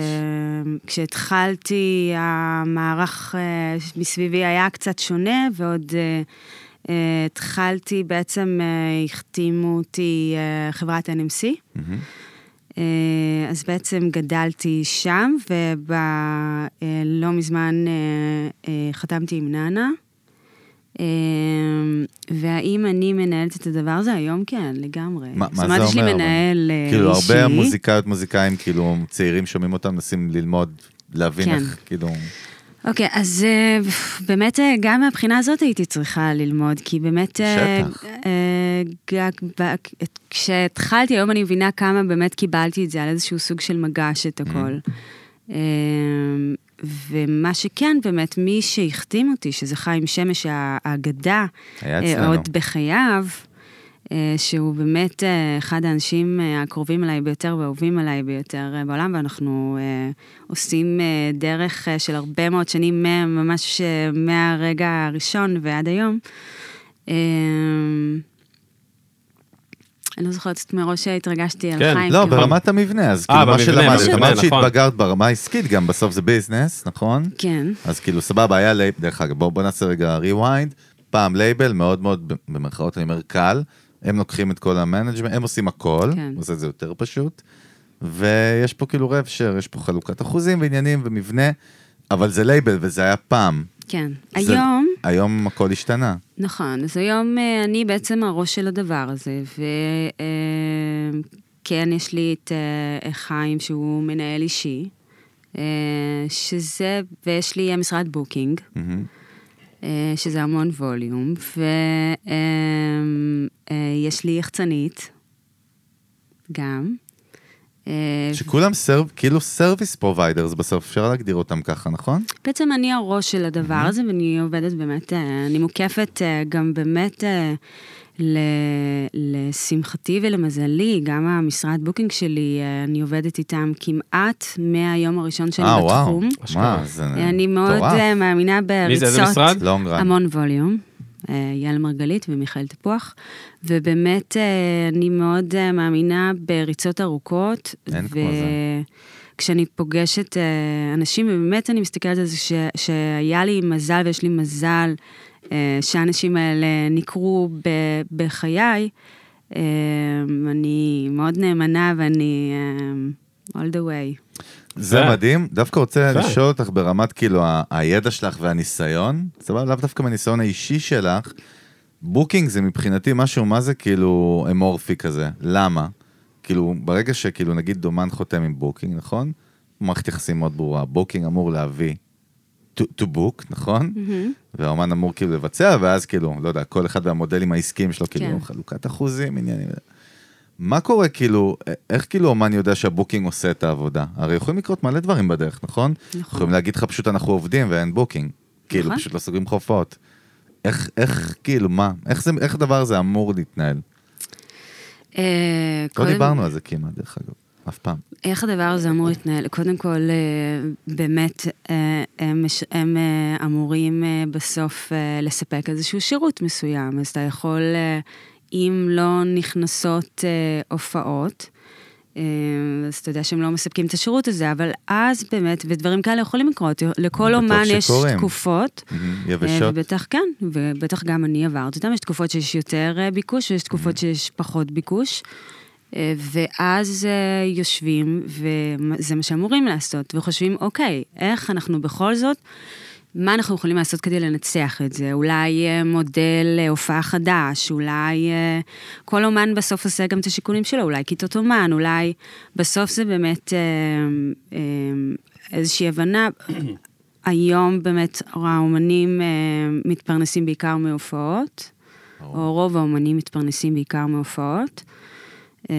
Speaker 2: כשהתחלתי, המערך אה, מסביבי היה קצת שונה, ועוד אה, אה, התחלתי, בעצם אה, החתימו אותי אה, חברת NMC.
Speaker 3: מהמם.
Speaker 2: אה, אז בעצם גדלתי שם, ולא מזמן אה, אה, חתמתי עם נאנה. אה, והאם אני מנהלת את הדבר הזה? היום כן, לגמרי.
Speaker 3: מה- מה
Speaker 2: זאת
Speaker 3: זה
Speaker 2: אומרת, יש לי
Speaker 3: אומר, אבל?
Speaker 2: מנהל אה, אישי.
Speaker 3: כאילו, הרבה מוזיקאיות, מוזיקאים, כאילו, צעירים שומעים אותם, מנסים ללמוד, להבין
Speaker 2: כן.
Speaker 3: איך, כאילו...
Speaker 2: אוקיי, אז אה, באמת אה, גם מהבחינה הזאת הייתי צריכה ללמוד, כי באמת... אה,
Speaker 3: בטח.
Speaker 2: אה, ג- ב- כשהתחלתי, היום אני מבינה כמה באמת קיבלתי את זה על איזשהו סוג של מגש את הכל. אה, ומה שכן, באמת, מי שהחתים אותי, שזה חיים שמש, האגדה,
Speaker 3: היה
Speaker 2: אה,
Speaker 3: אצלנו.
Speaker 2: עוד בחייו, אה, שהוא באמת אה, אחד האנשים אה, הקרובים אליי ביותר והאהובים עליי ביותר אה, בעולם, ואנחנו אה, עושים אה, דרך אה, של הרבה מאוד שנים, מה- ממש אה, מהרגע הראשון ועד היום. אה, אני לא זוכרת מראש התרגשתי על
Speaker 1: כן,
Speaker 2: חיים. כאילו.
Speaker 3: לא,
Speaker 2: כי-
Speaker 3: ברמת המבנה, אז
Speaker 1: אה,
Speaker 3: כאילו מה
Speaker 1: במבנה,
Speaker 3: שלמדת,
Speaker 1: במבנה,
Speaker 3: אמרת
Speaker 1: נכון.
Speaker 3: שהתבגרת ברמה העסקית גם, בסוף זה ביזנס, נכון?
Speaker 2: כן.
Speaker 3: אז כאילו סבבה, היה לייבל, דרך אגב, בואו בוא נעשה רגע rewind, פעם לייבל מאוד מאוד, ב- במרכאות אני אומר קל, הם לוקחים את כל המנג'מנט, הם עושים הכל,
Speaker 2: כן.
Speaker 3: עושה את זה יותר פשוט, ויש פה כאילו רב שר, יש פה חלוקת אחוזים ועניינים ומבנה, אבל זה לייבל וזה היה פעם.
Speaker 2: כן.
Speaker 3: זה-
Speaker 2: היום...
Speaker 3: היום הכל השתנה.
Speaker 2: נכון, אז היום אה, אני בעצם הראש של הדבר הזה, וכן, יש לי את אה, חיים שהוא מנהל אישי, אה, שזה, ויש לי אה, משרד בוקינג,
Speaker 3: מהמם.
Speaker 2: אה, שזה המון ווליום, ויש לי יחצנית, גם. אה,
Speaker 3: שכולם סרב, כאילו סרוויס פרוביידרס בסוף, אפשר להגדיר אותם ככה, נכון?
Speaker 2: בעצם אני הראש של הדבר הזה, ואני עובדת באמת, אה, אני מוקפת אה, גם באמת אה, ל- לשמחתי ולמזלי, גם המשרד בוקינג שלי, אה, אני עובדת איתם כמעט מהיום הראשון שלי
Speaker 3: אה, וואו,
Speaker 2: בתחום.
Speaker 1: אשכרה.
Speaker 3: מה, זה
Speaker 2: אני מאוד
Speaker 3: מטורף.
Speaker 2: אה, מאמינה בריצות.
Speaker 1: מי זה, איזה משרד?
Speaker 3: לונג רן.
Speaker 2: המון ווליום. אה, יעל מרגלית ומיכאל תפוח, ובאמת אה, אני מאוד אה, מאמינה בריצות ארוכות.
Speaker 3: אין כמו זה.
Speaker 2: כשאני פוגשת אה, אנשים, ובאמת אני מסתכלת על זה ש, שהיה לי מזל ויש לי מזל אה, שהאנשים האלה ניכרו ב, בחיי, אה, אני מאוד נאמנה ואני אה, all the way.
Speaker 3: זה
Speaker 1: יפה.
Speaker 3: מדהים, דווקא רוצה
Speaker 1: יפה.
Speaker 3: לשאול אותך ברמת כאילו ה- הידע שלך והניסיון, סבבה, לאו דווקא מהניסיון האישי שלך, בוקינג זה מבחינתי משהו, מה זה כאילו אמורפי כזה, למה? כאילו, ברגע שכאילו נגיד אומן חותם עם בוקינג, נכון? מערכת יחסים מאוד ברורה, בוקינג אמור להביא to, to book, נכון? והאומן אמור כאילו לבצע, ואז כאילו, לא יודע, כל אחד והמודלים העסקיים שלו, כאילו,
Speaker 2: כן.
Speaker 3: חלוקת אחוזים, עניינים. מה קורה כאילו, א- איך כאילו אומן יודע שהבוקינג עושה את העבודה? הרי יכולים לקרות מלא דברים בדרך, נכון?
Speaker 2: נכון.
Speaker 3: יכולים להגיד לך פשוט אנחנו עובדים ואין בוקינג. כאילו,
Speaker 2: נכון.
Speaker 3: פשוט לא סוגרים לך הופעות. איך, איך, כאילו, מה? איך, זה, איך הדבר הזה אמור להתנהל?
Speaker 2: אה,
Speaker 3: לא
Speaker 2: קודם-
Speaker 3: דיברנו על זה כמעט, דרך אגב, אף פעם.
Speaker 2: איך הדבר הזה אמור להתנהל? קודם כל, אה, באמת, אה, הם, מש- הם אה, אמורים אה, בסוף אה, לספק איזשהו שירות מסוים, אז אתה יכול, אה, אם לא נכנסות אה, הופעות, אה, אז אתה יודע שהם לא מספקים את השירות הזה, אבל אז באמת, ודברים כאלה יכולים לקרות, לכל
Speaker 3: בטוח
Speaker 2: אומן יש
Speaker 3: שקורים.
Speaker 2: תקופות.
Speaker 3: מהמם,
Speaker 2: אה,
Speaker 3: יבשות.
Speaker 2: ובטח כן, ובטח גם אני עברתי אותם. יש תקופות שיש יותר אה, ביקוש ויש תקופות שיש פחות ביקוש. אה, ואז אה, יושבים, וזה מה שאמורים לעשות, וחושבים, אוקיי, איך אנחנו בכל זאת, מה אנחנו יכולים לעשות כדי לנצח את זה? אולי אה, מודל אה, הופעה חדש, אולי אה, כל אומן בסוף עושה גם את השיקולים שלו, אולי כיתות אומן, אולי בסוף זה באמת אה, אה, איזושהי הבנה. היום באמת האומנים אה, מתפרנסים בעיקר מהופעות, או רוב האומנים מתפרנסים בעיקר מהופעות. אה,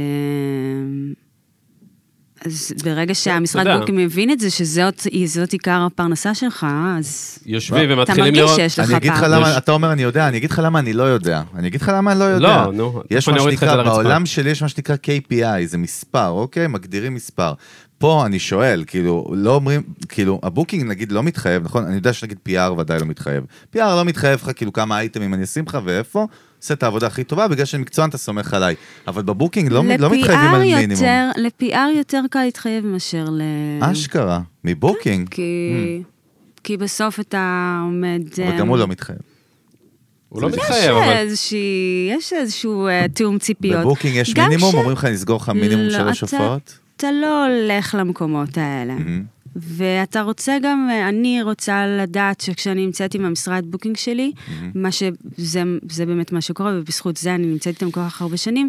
Speaker 2: אז
Speaker 1: כן,
Speaker 2: ברגע שהמשרד
Speaker 1: יודע.
Speaker 2: בוקינג מבין את זה, שזאת זאת עיקר הפרנסה שלך, אז
Speaker 1: יושבים
Speaker 2: אתה
Speaker 1: ומתחילים
Speaker 2: מרגיש
Speaker 1: לראות...
Speaker 2: שיש לך
Speaker 3: אני אגיד לך
Speaker 2: פעם.
Speaker 3: למה, אתה אומר אני יודע, אני אגיד לך למה אני לא יודע. אני אגיד לך למה אני לא יודע.
Speaker 1: לא, נו,
Speaker 3: יש
Speaker 1: תכף
Speaker 3: מה
Speaker 1: אני אוריד לך את
Speaker 3: שנקרא,
Speaker 1: זה לרצפה.
Speaker 3: בעולם שלי יש מה שנקרא KPI, זה מספר, אוקיי? מגדירים מספר. פה אני שואל, כאילו, לא אומרים, כאילו, הבוקינג נגיד לא מתחייב, נכון? אני יודע שנגיד PR ודאי לא מתחייב. PR לא מתחייב לך, כאילו, כמה אייטמים אני אשים לך ואיפה, עושה את העבודה הכי טובה, בגלל שאני מקצוען, אתה סומך עליי. אבל בבוקינג לא, לא מתחייבים על
Speaker 2: ל-PR
Speaker 3: מינימום.
Speaker 2: יותר- ל-PR יותר קל להתחייב מאשר ל...
Speaker 3: אה? אשכרה, מבוקינג.
Speaker 2: כן. כי- כי בסוף אתה עומד...
Speaker 3: Hmm. אבל גם
Speaker 2: אה,
Speaker 3: הוא לא מתחייב.
Speaker 1: הוא לא
Speaker 3: יש,
Speaker 1: מתחייב,
Speaker 2: יש
Speaker 1: אבל...
Speaker 2: איזושהי, יש איזשהו אה, תיאום ציפיות.
Speaker 3: בבוקינג יש
Speaker 2: גם
Speaker 3: מינימום,
Speaker 2: כש-
Speaker 3: אומרים לך נסגור לך מינימום
Speaker 2: לא,
Speaker 3: שלוש
Speaker 2: אתה-
Speaker 3: הופעות?
Speaker 2: אתה לא הולך למקומות האלה.
Speaker 3: מהמם.
Speaker 2: ואתה רוצה גם, אה, אני רוצה לדעת שכשאני נמצאת עם המשרד בוקינג שלי, מה שזה זה באמת מה שקורה, ובזכות זה אני נמצאת איתם כל כך הרבה שנים,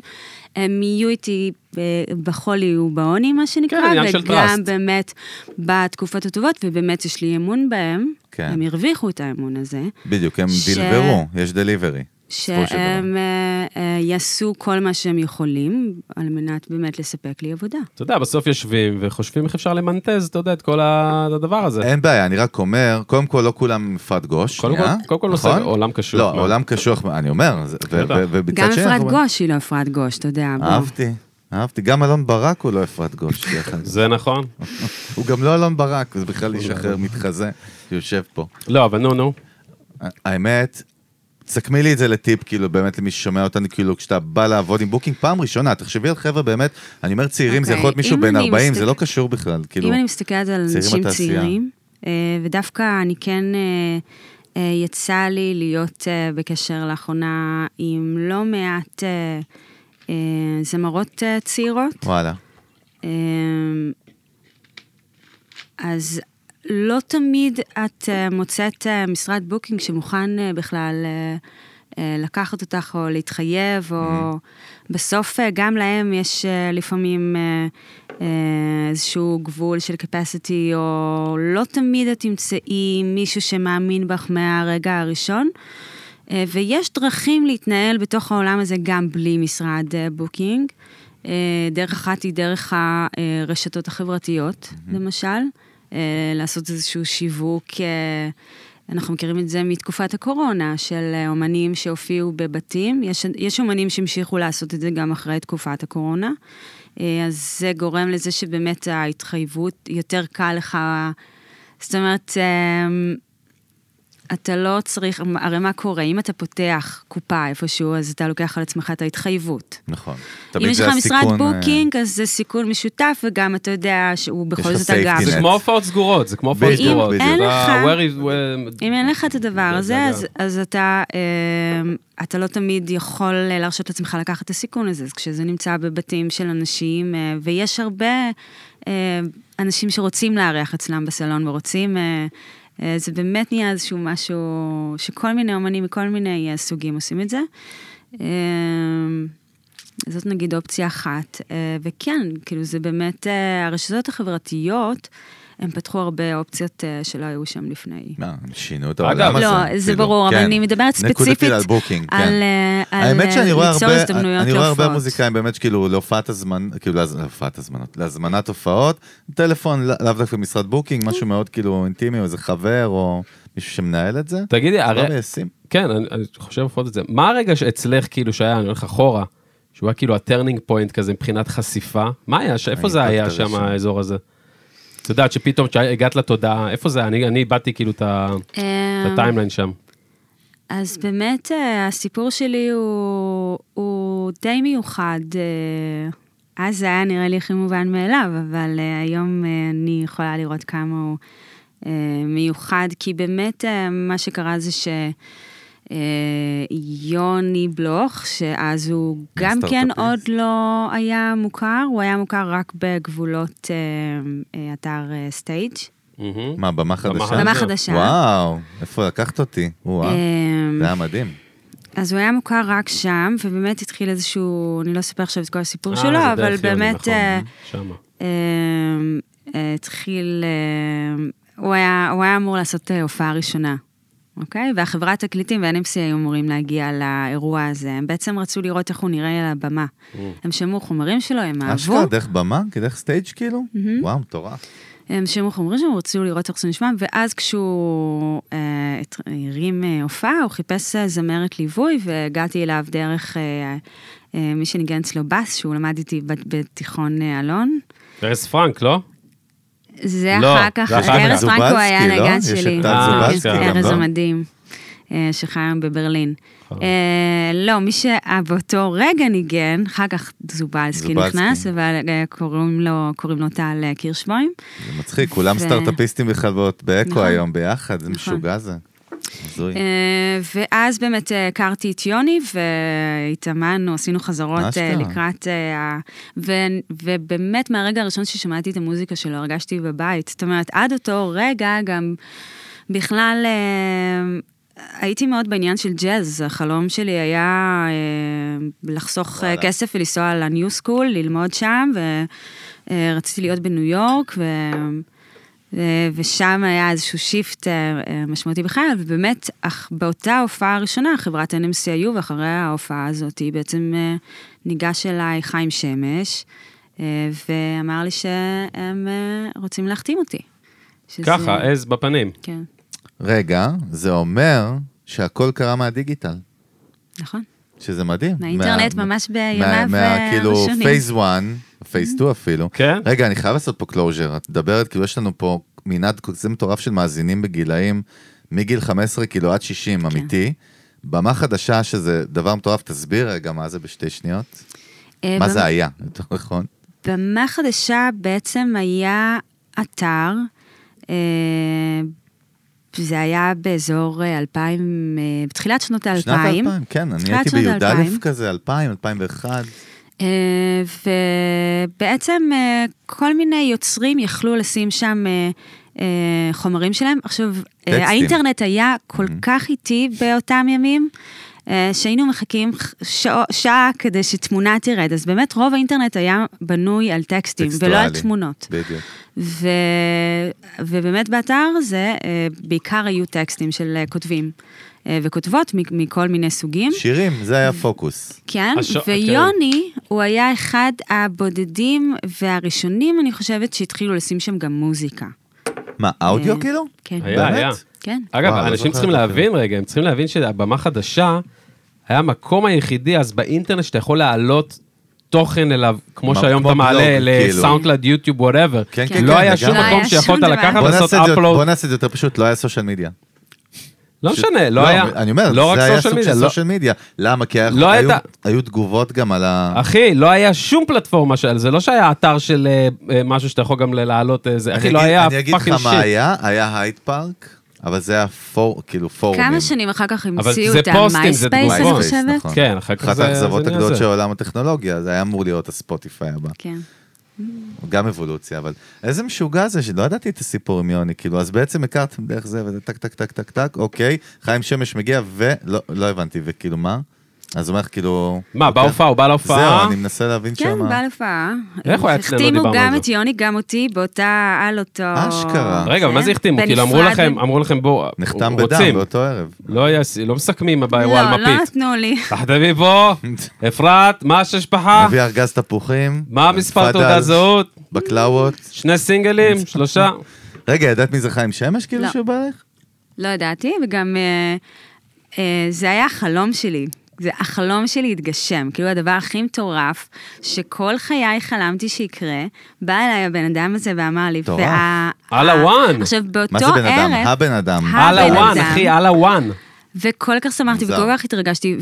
Speaker 2: הם יהיו איתי אה, בחולי ובעוני, מה
Speaker 3: כן,
Speaker 2: שנקרא,
Speaker 1: עניין של
Speaker 2: וגם
Speaker 1: trust.
Speaker 2: באמת בתקופות הטובות, ובאמת יש לי אמון בהם,
Speaker 3: כן.
Speaker 2: הם הרוויחו את האמון הזה.
Speaker 3: בדיוק, הם
Speaker 2: ש-
Speaker 3: דילברו, יש דליברי. בסופו של דבר.
Speaker 2: שהם אה, אה, יעשו כל מה שהם יכולים על מנת באמת לספק לי עבודה.
Speaker 1: אתה יודע, בסוף יושבים וחושבים איך אפשר למנטז, אתה יודע, את כל ה- הדבר הזה.
Speaker 3: אין בעיה, אני רק אומר, קודם כל לא כולם מפת גוש.
Speaker 1: קודם
Speaker 3: שנייה,
Speaker 1: כל- קודם כל
Speaker 3: נכון?
Speaker 1: נושא- עולם קשוח
Speaker 3: לא,
Speaker 1: מאוד.
Speaker 3: עולם קשוח, אני אומר, זה- ו-
Speaker 1: בטח.
Speaker 3: ו- ובצד
Speaker 2: גם
Speaker 3: שני,
Speaker 2: אפרת
Speaker 3: אנחנו-
Speaker 2: גוש היא לא אפרת גוש, אתה יודע. בוא.
Speaker 3: אהבתי, אהבתי. גם אלון ברק הוא לא אפרת גוש. (laughs) דרך אגב.
Speaker 1: זה נכון.
Speaker 3: הוא גם לא אלון ברק, הוא בכלל איש אחר מתחזה, שיושב פה.
Speaker 1: לא, אבל נו, נו.
Speaker 3: האמת, תסכמי לי את זה לטיפ, כאילו, באמת למי ששומע אותנו, כאילו, כשאתה בא לעבוד עם בוקינג פעם ראשונה, תחשבי על חבר'ה באמת, אני אומר צעירים, זה
Speaker 2: אוקיי,
Speaker 3: יכול להיות מישהו
Speaker 2: אם
Speaker 3: בן
Speaker 2: אני
Speaker 3: 40,
Speaker 2: מסתכל-
Speaker 3: זה לא קשור בכלל, כאילו.
Speaker 2: אם אני מסתכלת על
Speaker 3: צעירים
Speaker 2: אנשים
Speaker 3: בתעשייה.
Speaker 2: צעירים, אה, ודווקא אני כן, אה, אה, יצא לי להיות אה, בקשר לאחרונה עם לא מעט אה, אה, זמרות אה, צעירות.
Speaker 3: וואלה.
Speaker 2: אמ, אז לא תמיד את אה, מוצאת אה, משרד בוקינג שמוכן אה, בכלל אה, אה, לקחת אותך או להתחייב, או בסוף אה, גם להם יש אה, לפעמים אה, אה, איזשהו גבול של capacity, או לא תמיד את תמצאי מישהו שמאמין בך מהרגע הראשון. אה, ויש דרכים להתנהל בתוך העולם הזה גם בלי משרד אה, בוקינג. אה, דרך אחת היא דרך הרשתות החברתיות, למשל, אה, לעשות איזשהו שיווק אה, אנחנו מכירים את זה מתקופת הקורונה, של אה, אומנים שהופיעו בבתים. יש, יש אומנים שהמשיכו לעשות את זה גם אחרי תקופת הקורונה. אה, אז זה גורם לזה שבאמת ההתחייבות, יותר קל לך... זאת אומרת, אה, אתה לא צריך, הרי מה קורה? אם אתה פותח קופה איפשהו, אז אתה לוקח על עצמך את ההתחייבות.
Speaker 3: נכון.
Speaker 2: אם
Speaker 3: תמיד
Speaker 2: יש
Speaker 3: זה
Speaker 2: לך משרד
Speaker 3: הסיכון, אה,
Speaker 2: בוקינג, אז זה סיכון משותף, וגם אתה יודע שהוא בכל
Speaker 3: לך
Speaker 2: זאת אגף.
Speaker 3: safety
Speaker 1: זה
Speaker 3: net.
Speaker 1: כמו הופעות סגורות, זה כמו הופעות
Speaker 3: בדיוק,
Speaker 1: סגורות.
Speaker 3: בדיוק.
Speaker 2: אין
Speaker 1: אה,
Speaker 2: לך-
Speaker 1: where is- where-
Speaker 2: אם אין לך את הדבר
Speaker 1: זה
Speaker 2: הזה, אז,
Speaker 1: אגב.
Speaker 2: אז אתה, אה, אתה לא תמיד יכול להרשות לעצמך לקחת את הסיכון הזה. אז כשזה נמצא בבתים של אנשים, אה, ויש הרבה אה, אנשים שרוצים לארח אצלם בסלון ורוצים... אה, אה, זה באמת נהיה איזשהו משהו שכל מיני אומנים מכל מיני אה, סוגים עושים את זה. אה, זאת נגיד אופציה אחת. אה, וכן, כאילו זה באמת, אה, הרשתות החברתיות, הם פתחו הרבה אופציות אה, שלא היו שם לפני.
Speaker 3: מה, הם שינו את
Speaker 1: אגב,
Speaker 3: העולם הזה.
Speaker 2: לא, זה
Speaker 3: כאילו,
Speaker 2: ברור, אבל
Speaker 3: כן.
Speaker 2: אני מדברת ספציפית
Speaker 3: נקודתי על בוקינג,
Speaker 2: על,
Speaker 3: כן.
Speaker 2: אה, על
Speaker 3: האמת שאני
Speaker 2: אה,
Speaker 3: רואה
Speaker 2: ליצור
Speaker 3: הרבה,
Speaker 2: הזדמנויות
Speaker 3: אני רואה הרבה
Speaker 2: להופעות.
Speaker 3: מוזיקאים באמת שכאילו להופעת הזמן, כאילו להז- להופעת הזמנות, להזמנת הופעות, טלפון לא- לאו דווקא משרד בוקינג, משהו מאוד כאילו אינטימי, או איזה חבר או מישהו שמנהל את זה. לא
Speaker 1: תגידי, הרי...
Speaker 3: סבבה, ישים.
Speaker 1: כן, אני, אני חושב לפחות את זה. מה הרגע שאצלך, כאילו, שהיה, אני הולך אחורה, שהוא היה כאילו הטרנינג פוינט כזה מבחינת חשיפה? מה היה, ש- איפה
Speaker 3: אני
Speaker 1: זה היה
Speaker 3: דוקטור
Speaker 1: שם,
Speaker 3: ראשון.
Speaker 1: האזור הזה? את יודעת שפתאום כשהגעת לתודעה, איפה זה? היה? אני, אני איבדתי כאילו את ה- את
Speaker 2: אה,
Speaker 1: הטיימליין שם.
Speaker 2: אז באמת אה, הסיפור שלי הוא, הוא די מיוחד. אה, אז זה היה נראה לי הכי מובן מאליו, אבל אה, היום אה, אני יכולה לראות כמה הוא אה, מיוחד, כי באמת אה, מה שקרה זה ש... אה, יוני בלוך, שאז הוא גם כן
Speaker 3: מהסטארט-אפיסט.
Speaker 2: עוד לא היה מוכר, הוא היה מוכר רק בגבולות אה, אה, אתר אה, סטייג',
Speaker 1: מהמם.
Speaker 3: מה, במה חדשה?
Speaker 2: במה חדשה.
Speaker 3: וואו, איפה לקחת אותי? וואו,
Speaker 2: אה,
Speaker 3: זה היה מדהים.
Speaker 2: אז הוא היה מוכר רק שם, ובאמת התחיל איזשהו, אני לא אספר עכשיו את כל הסיפור
Speaker 1: אה,
Speaker 2: שלו,
Speaker 1: זה
Speaker 2: אבל
Speaker 1: דרך יוני,
Speaker 2: באמת
Speaker 1: נכון,
Speaker 2: אה,
Speaker 1: שמה.
Speaker 2: אה, אה, התחיל, אה, הוא היה הוא היה אמור לעשות אה, הופעה ראשונה, אוקיי? והחברת תקליטים וה-NMC היו אמורים להגיע לאירוע הזה. הם בעצם רצו לראות איך הוא נראה על הבמה. הם שמעו חומרים שלו, הם אהבו.
Speaker 3: אשכרה דרך במה? כי דרך סטייג' כאילו? וואו, מטורף.
Speaker 2: הם שמעו חומרים שהם רצו לראות איך זה נשמע, ואז כשהוא אה, הת- הרים אה, הופעה, הוא חיפש אה, זמרת ליווי, והגעתי אליו דרך אה, אה, מי שניגן אצלו בס, שהוא למד איתי בת- בתיכון אה, אלון.
Speaker 1: ארז פרנק, לא?
Speaker 2: זה
Speaker 1: לא,
Speaker 2: אחר כך,
Speaker 1: זה אחר כך.
Speaker 2: ארז פרנקו
Speaker 3: זובלסקי,
Speaker 2: היה
Speaker 3: לא?
Speaker 2: הנגן
Speaker 3: יש את
Speaker 2: שלי.
Speaker 3: טל
Speaker 2: אה,
Speaker 1: זובלסקי גם,
Speaker 2: ארז
Speaker 3: לא? נכון.
Speaker 2: המדהים, אה, שחי היום בברלין. אה, לא, מי שבאותו רגע ניגן, אחר כך זובלסקי
Speaker 3: זובלסקי.
Speaker 2: נכנס, אבל אה, קוראים לו- קוראים לו טל אה, הירשבוים.
Speaker 3: זה מצחיק, כולם
Speaker 2: ו-
Speaker 3: סטארט-אפיסטים בכלל באות באקו
Speaker 2: נכון.
Speaker 3: היום ביחד, זה
Speaker 2: נכון.
Speaker 3: משוגע זה. הזוי.
Speaker 2: אה, ואז באמת אה, הכרתי את יוני והתאמנו, עשינו חזרות אה,
Speaker 3: אשכרה.
Speaker 2: לקראת אה, ה... ו- ובאמת מהרגע הראשון ששמעתי את המוזיקה שלו הרגשתי בבית. זאת אומרת, עד אותו רגע גם בכלל... אה, הייתי מאוד בעניין של ג'אז, החלום שלי היה אה, לחסוך
Speaker 3: וואלה.
Speaker 2: וואלה. כסף ולנסוע לניו סקול, ללמוד שם, ורציתי להיות בניו יורק, ו... ו- ושם היה איזשהו שיפט אה, אה, משמעותי בחיי, ובאמת, אך באותה הופעה הראשונה, חברת NMC היו, ואחרי ההופעה הזאת, בעצם אה, ניגש אליי חיים שמש, אה, ואמר לי שהם אה, רוצים להחתים אותי. שזה-
Speaker 3: אה?
Speaker 1: ככה, עז בפנים.
Speaker 2: כן,
Speaker 3: רגע, זה אומר שהכל קרה מהדיגיטל,
Speaker 2: נכון.
Speaker 3: שזה מדהים.
Speaker 2: מהאינטרנט
Speaker 3: מה-
Speaker 2: ממש
Speaker 3: מה-
Speaker 2: בימיו אה,
Speaker 3: מה-
Speaker 2: הראשונים.
Speaker 3: כאילו פייס 1, פייס
Speaker 2: Mm-hmm.
Speaker 3: 2 אפילו.
Speaker 1: כן?
Speaker 3: רגע, אני חייב לעשות פה קלוז'ר, את מדברת, כאילו יש לנו פה מנעד כזה מטורף של מאזינים בגילאים מגיל 15 כאילו עד 60,
Speaker 2: כן.
Speaker 3: אמיתי. במה חדשה שזה דבר מטורף, תסביר רגע מה זה בשתי שניות.
Speaker 2: אה,
Speaker 3: מה
Speaker 2: במ-
Speaker 3: זה היה, יותר נכון?
Speaker 2: במה חדשה בעצם היה אתר, אה, זה היה באזור אה, 2000, אה, בתחילת שנות
Speaker 3: שנת
Speaker 2: האלפיים.
Speaker 3: 2000, כן, אני
Speaker 2: תחילת
Speaker 3: הייתי
Speaker 2: שנות
Speaker 3: בי"א
Speaker 2: האלפיים.
Speaker 3: כזה, 2000, 2001.
Speaker 2: אה, ובעצם אה, כל מיני יוצרים יכלו לשים שם אה, אה, חומרים שלהם. עכשיו,
Speaker 3: טקסטים. Mm-hmm.
Speaker 2: אה, האינטרנט היה כל כך איטי באותם ימים. אה, שהיינו מחכים שעה, שעה כדי שתמונה תרד, אז באמת רוב האינטרנט היה בנוי על טקסטים ולא על
Speaker 3: טקסטואלי.
Speaker 2: תמונות.
Speaker 3: בדיוק.
Speaker 2: ו... ובאמת באתר הזה אה, בעיקר היו טקסטים של אה, כותבים אה, וכותבות מ- מכל מיני סוגים.
Speaker 3: שירים, זה היה פוקוס.
Speaker 2: כן,
Speaker 1: השו- אוקיי.
Speaker 2: ויוני הוא היה אחד הבודדים והראשונים, אני חושבת, שהתחילו לשים שם גם מוזיקה.
Speaker 3: מה, אודיו
Speaker 2: אה,
Speaker 3: כאילו?
Speaker 2: כן.
Speaker 1: היה,
Speaker 3: באמת?
Speaker 1: היה.
Speaker 2: כן.
Speaker 1: אגב,
Speaker 3: וואו, לא
Speaker 1: אנשים
Speaker 3: זוכר
Speaker 1: צריכים
Speaker 3: את זה
Speaker 1: להבין רגע, הם צריכים להבין שהבמה חדשה, היה המקום היחידי אז באינטרנט שאתה יכול להעלות תוכן אליו, כמו
Speaker 3: מה-
Speaker 1: שהיום
Speaker 3: כמו
Speaker 1: אתה מעלה
Speaker 3: בלוג, כאילו.
Speaker 1: לסאונדלד, יוטיוב, וואטאבר.
Speaker 3: כן,
Speaker 2: כן,
Speaker 1: לא
Speaker 2: כן,
Speaker 1: היה
Speaker 3: לגמרי.
Speaker 1: שום
Speaker 3: לא
Speaker 1: מקום
Speaker 2: היה
Speaker 1: שיכולת
Speaker 2: שום דבר.
Speaker 1: לקחת
Speaker 3: בוא
Speaker 1: ולעשות
Speaker 3: נעשה את זה- בוא
Speaker 1: אפלואוד.
Speaker 3: נעשה את זה יותר פשוט, לא היה סושיאל מדיה.
Speaker 1: לא משנה, לא היה.
Speaker 3: אני אומר,
Speaker 1: לא רק
Speaker 3: זה היה
Speaker 1: סושיאל
Speaker 3: סוג
Speaker 1: מדיה.
Speaker 3: של
Speaker 1: לא-
Speaker 3: סושיאל מדיה. למה? כי היה-
Speaker 1: לא
Speaker 3: היו-
Speaker 1: הייתה-
Speaker 3: היו תגובות גם על ה...
Speaker 1: אחי, לא היה שום פלטפורמה של זה, לא שהיה אתר של אה, אה, משהו שאתה יכול גם להעלות איזה, אחי,
Speaker 3: אני
Speaker 1: לא
Speaker 3: אגיד-
Speaker 1: היה
Speaker 3: אני אגיד לך
Speaker 1: פאקינג
Speaker 3: מה
Speaker 1: שיט.
Speaker 3: היה, היה הייד פארק, אבל זה היה פור, כאילו פורומים.
Speaker 2: כמה שנים אחר כך המציאו
Speaker 1: זה
Speaker 2: את
Speaker 1: פוסטים, זה
Speaker 2: המייספייס, אני
Speaker 1: תגובות.
Speaker 2: חושבת?
Speaker 3: נכון.
Speaker 1: כן, אחר כך
Speaker 3: אחת
Speaker 1: זה-
Speaker 3: האכזבות
Speaker 1: זה נהיה
Speaker 3: הגדולות
Speaker 1: זה.
Speaker 3: של עולם הטכנולוגיה, זה היה אמור להיות הספוטיפיי הבא.
Speaker 2: כן.
Speaker 3: גם אבולוציה, אבל איזה משוגע זה שלא ידעתי את הסיפור עם יוני, כאילו, אז בעצם הכרתם דרך זה וזה טק טק טק טק טק, אוקיי, חיים שמש מגיע ולא לא הבנתי, וכאילו מה? אז הוא אומר לך כאילו...
Speaker 1: מה,
Speaker 3: אוקיי.
Speaker 1: בהופעה, הוא בא להופעה?
Speaker 3: זהו, אני מנסה להבין
Speaker 2: כן,
Speaker 3: שמה.
Speaker 2: בעל הופעה.
Speaker 1: איך הוא היה אצלנו? לא
Speaker 2: החתימו
Speaker 1: דיברנו על
Speaker 2: גם
Speaker 1: זה.
Speaker 2: את יוני, גם אותי, באותה, על אותו... כן?
Speaker 3: אשכרה.
Speaker 1: רגע, אבל מה זה החתימו? כאילו, אמרו
Speaker 2: בנפרד.
Speaker 1: לכם, אמרו לכם, בואו,
Speaker 3: נחתם בדם
Speaker 1: רוצים.
Speaker 3: באותו ערב.
Speaker 1: לא היה- לא מסכמים באירוע על
Speaker 2: לא, לא
Speaker 1: מפית.
Speaker 2: נתנו לי.
Speaker 1: תחתמי פה, אפרת, מה השש פחה?
Speaker 3: מביא ארגז תפוחים.
Speaker 1: אה.
Speaker 3: אה,
Speaker 1: מה המספר
Speaker 3: פדל,
Speaker 1: תעודת זהות?
Speaker 3: בקלאוות.
Speaker 1: שני סינגלים, שלושה.
Speaker 3: רגע, ידעת מי זה חיים שמש כאילו
Speaker 2: לא.
Speaker 3: שהוא בא אליך?
Speaker 2: לא ידעתי, וגם אה, אה, זה היה החלום שלי. זה החלום שלי התגשם, כאילו הדבר הכי מטורף, שכל חיי חלמתי שיקרה, בא אליי הבן אדם הזה ואמר לי,
Speaker 3: מטורף.
Speaker 2: וה-
Speaker 1: על הוואן.
Speaker 2: עכשיו, באותו
Speaker 3: מה
Speaker 2: ערב...
Speaker 3: זה בן אדם? הבן אדם.
Speaker 1: על
Speaker 2: הבן
Speaker 1: הוואן,
Speaker 2: אדם.
Speaker 1: אחי, על הוואן.
Speaker 2: וכל כך שמחתי
Speaker 3: מוזר.
Speaker 2: וכל כך התרגשתי,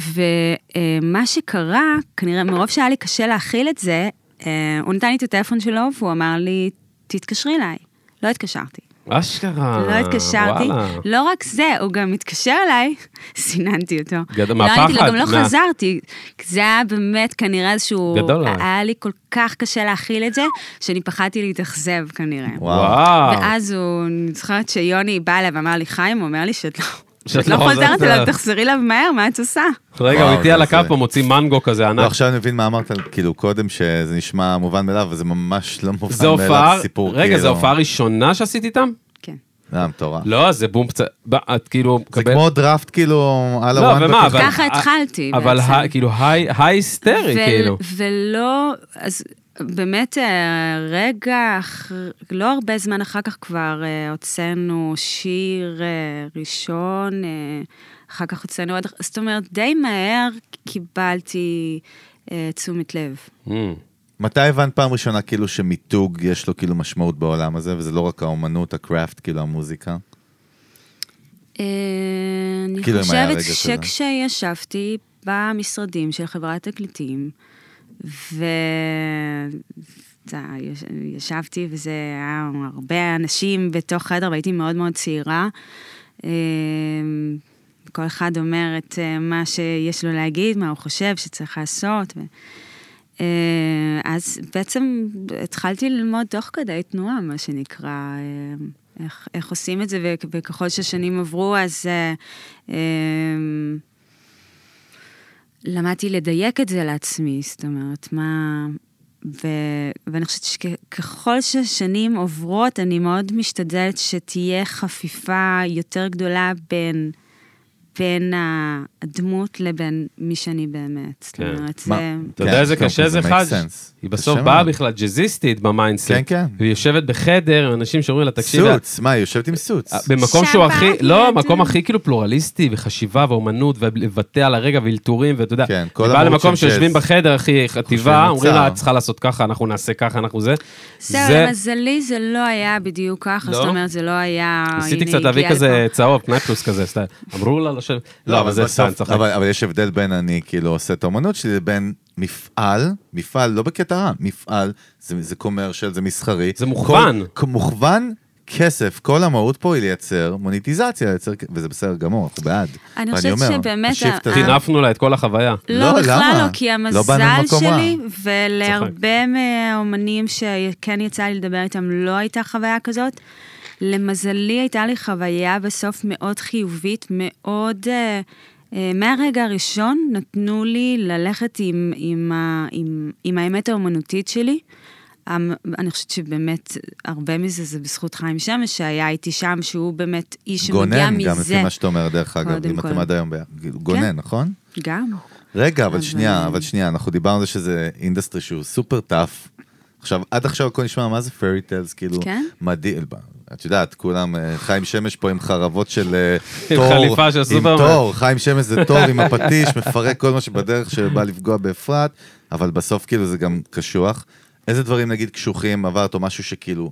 Speaker 2: ומה שקרה, כנראה מרוב שהיה לי קשה להכיל את זה, אה, הוא נתן לי את הטלפון שלו והוא אמר לי, תתקשרי אליי. לא התקשרתי.
Speaker 1: אשכרה.
Speaker 2: לא התקשרתי.
Speaker 1: אה, וואלה.
Speaker 2: לא רק זה, הוא גם התקשר אליי, (laughs) סיננתי אותו.
Speaker 1: גדול,
Speaker 2: לא עניתי לו,
Speaker 1: מהפחד,
Speaker 2: גם לא
Speaker 1: מה-
Speaker 2: חזרתי. זה היה באמת כנראה איזשהו...
Speaker 1: גדול אה. עליי.
Speaker 2: היה לי כל כך קשה להכיל את זה, שאני פחדתי להתאכזב כנראה.
Speaker 1: וואו.
Speaker 2: ואז הוא, אני זוכרת שיוני בא אליי ואמר לי, חיים, הוא אומר לי שאת לא...
Speaker 1: שאת
Speaker 2: שאת לא
Speaker 1: לא
Speaker 2: חוזרת
Speaker 1: חוזרת
Speaker 2: אליו,
Speaker 1: אליו."
Speaker 2: תחזרי אליו מהר, מה את עושה?
Speaker 1: רגע,
Speaker 3: וואו,
Speaker 1: הוא איתי על
Speaker 3: זה
Speaker 1: הקו
Speaker 3: זה.
Speaker 1: פה, מוציא מנגו כזה
Speaker 3: לא,
Speaker 1: ענק.
Speaker 3: עכשיו אני מבין מה אמרת, כאילו, קודם שזה נשמע מובן מאליו, וזה ממש לא מובן
Speaker 1: זה
Speaker 3: מאליו,
Speaker 1: הופעה,
Speaker 3: סיפור,
Speaker 1: רגע, זו
Speaker 3: כאילו.
Speaker 1: הופעה ראשונה שעשית איתם?
Speaker 2: כן.
Speaker 3: אה, מטורף.
Speaker 1: לא, זה בום קצת, ב- את כאילו...
Speaker 3: זה
Speaker 1: מקבל-
Speaker 3: כמו דראפט, כאילו, על
Speaker 1: לא,
Speaker 3: הוואן.
Speaker 1: ומה, אבל...
Speaker 2: ככה התחלתי
Speaker 1: אבל
Speaker 2: בעצם.
Speaker 1: ה- כאילו, היי- היי היסטרי,
Speaker 2: ו-
Speaker 1: כאילו.
Speaker 2: ולא, אז באמת אה, רגע, אח- לא הרבה זמן אחר כך כבר אה, הוצאנו שיר אה, ראשון, אה, אחר כך הוצאנו עוד, זאת אומרת, די מהר קיבלתי אה, תשומת לב.
Speaker 1: אמ.
Speaker 3: מתי הבנת פעם ראשונה, כאילו, שמיתוג יש לו כאילו משמעות בעולם הזה, וזה לא רק האומנות, הקראפט, כאילו, המוזיקה?
Speaker 2: אה, אני
Speaker 3: כאילו, אם היה
Speaker 2: חושבת
Speaker 3: רגע כזה.
Speaker 2: שכשישבתי במשרדים של חברת תקליטים, וישבתי וזה היה הרבה אנשים בתוך חדר והייתי מאוד מאוד צעירה. אה, כל אחד אומר את אה, מה שיש לו להגיד, מה הוא חושב שצריך לעשות. ו... אה, אז בעצם התחלתי ללמוד תוך כדי תנועה, מה שנקרא, אה, איך, איך עושים את זה, וכ- וככל ששנים עברו, אז אה, אה, למדתי לדייק את זה לעצמי, זאת אומרת, מה... ו, ואני חושבת שככל ששנים עוברות, אני מאוד משתדלת שתהיה חפיפה יותר גדולה בין... בין הדמות לבין מי שאני באמת. זאת
Speaker 1: כן.
Speaker 2: אומרת,
Speaker 3: מה-
Speaker 2: זה...
Speaker 1: אתה
Speaker 3: כן,
Speaker 1: יודע איזה
Speaker 3: כן,
Speaker 1: קשה
Speaker 3: כן,
Speaker 1: זה
Speaker 3: זה make
Speaker 1: חאג'?
Speaker 3: sense.
Speaker 1: היא בסוף
Speaker 3: קשה
Speaker 1: באה
Speaker 3: מאוד.
Speaker 1: בכלל ג'אזיסטית במיינדסט.
Speaker 3: כן, כן.
Speaker 1: והיא יושבת בחדר, עם אנשים שאומרים לה, תקשיבי, את-
Speaker 3: סוץ, מה, היא יושבת עם סוץ.
Speaker 1: אה, במקום שהוא
Speaker 2: שם
Speaker 1: הכי,
Speaker 2: באתי
Speaker 1: לא,
Speaker 2: ואתה-
Speaker 1: מקום הכי כאילו פלורליסטי וחשיבה ואומנות ולבטא על הרגע ואלתורים ואתה יודע,
Speaker 3: כן, כל
Speaker 1: היא באה
Speaker 3: המהות
Speaker 1: למקום
Speaker 3: של
Speaker 1: שיושבים
Speaker 3: ג'אז.
Speaker 1: בחדר, אחי, חטיבה,
Speaker 3: מוצר.
Speaker 1: אומרים לה, את צריכה לעשות ככה, אנחנו נעשה ככה, אנחנו זה.
Speaker 2: זהו, למזלי זה לא היה בדיוק ככה,
Speaker 1: לא?
Speaker 2: זאת אומרת, זה לא היה...
Speaker 1: ניסיתי
Speaker 2: הנה,
Speaker 1: קצת להביא
Speaker 2: הגיעה
Speaker 1: כזה
Speaker 2: לפה.
Speaker 1: צהוב, פנקלוס כזה, סתם. אמרו לה לשבת, לא, אבל זה
Speaker 3: בסוף-
Speaker 1: סתם, צחק.
Speaker 3: אבל אבל יש הבדל בין אני, כאילו, עושה את האומנות שלי, לבין מפעל, מפעל, לא בקטע רע, מפעל, זה זה קומרשל, זה מסחרי.
Speaker 1: זה מוכוון.
Speaker 3: כל- כ- מוכוון. כסף, כל המהות פה היא לייצר מוניטיזציה, לייצר, וזה בסדר גמור, אנחנו בעד.
Speaker 2: אני
Speaker 3: ואני
Speaker 2: חושבת
Speaker 3: אומר,
Speaker 2: שבאמת
Speaker 3: השיפט הזה-
Speaker 1: טינפנו לה את כל החוויה.
Speaker 2: לא,
Speaker 3: לא,
Speaker 2: בכלל
Speaker 3: למה?
Speaker 2: לא, כי
Speaker 3: לא באנו
Speaker 2: המזל
Speaker 3: ממקום רע.
Speaker 2: שלי, ולהרבה מהאומנים שכן יצא לי לדבר איתם, לא הייתה חוויה כזאת. למזלי הייתה לי חוויה בסוף מאוד חיובית, מאוד... אה, אה, מהרגע הראשון נתנו לי ללכת עם, עם, ה- עם, עם האמת האומנותית שלי. המ- אני חושבת שבאמת הרבה מזה זה בזכות חיים שמש, שהיה איתי שם, שהוא באמת איש שמגיע
Speaker 3: גונן,
Speaker 2: מזה.
Speaker 3: גם לפי מה שאתה אומר, דרך אגב,
Speaker 2: קודם
Speaker 3: אם אתם
Speaker 2: כל. כן.
Speaker 3: עד היום ביחד. גונן, נכון?
Speaker 2: גם.
Speaker 3: רגע, אבל
Speaker 2: אבל-
Speaker 3: שנייה, אבל שנייה, אנחנו דיברנו על זה שזה אינדסטרי שהוא סופר טאף. עכשיו, עד עכשיו הכל נשמע, מה זה פרי טיילס? כאילו,
Speaker 2: כן?
Speaker 3: מדהים. את יודעת, כולם, אה, חיים שמש פה עם חרבות
Speaker 1: (laughs)
Speaker 3: של אה, תור.
Speaker 1: חליפה של סופרמן.
Speaker 3: עם תור, חיים שמש זה תור עם הפטיש, מפרק כל מה שבדרך שבא לפגוע באפרת, אבל בסוף כאילו זה גם קשוח. איזה דברים נגיד קשוחים עברת, או משהו שכאילו,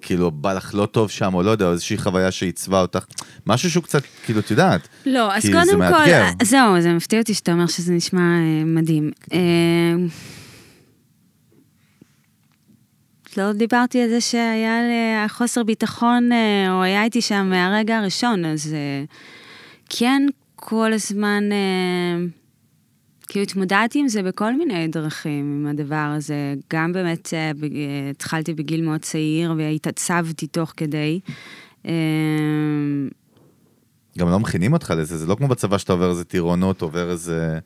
Speaker 3: כאילו בא לך לא טוב שם, או לא יודע, או איזושהי חוויה שעיצבה אותך, משהו שהוא קצת, כאילו, את יודעת.
Speaker 2: לא, אז
Speaker 3: כי זה
Speaker 2: קודם כל,
Speaker 3: מאתגר.
Speaker 2: זהו, זה מפתיע אותי שאתה אומר שזה נשמע אה, מדהים. אה, לא דיברתי על זה שהיה לי חוסר ביטחון, אה, או היה איתי שם מהרגע הראשון, אז אה, כן, כל הזמן, אה, כאילו התמודדתי עם זה בכל מיני דרכים, עם הדבר הזה. גם באמת אה, ב- אה, התחלתי בגיל מאוד צעיר, והתעצבתי תוך כדי. אה,
Speaker 3: גם לא מכינים אותך לזה, זה לא כמו בצבא שאתה עובר איזה טירונות, עובר איזה...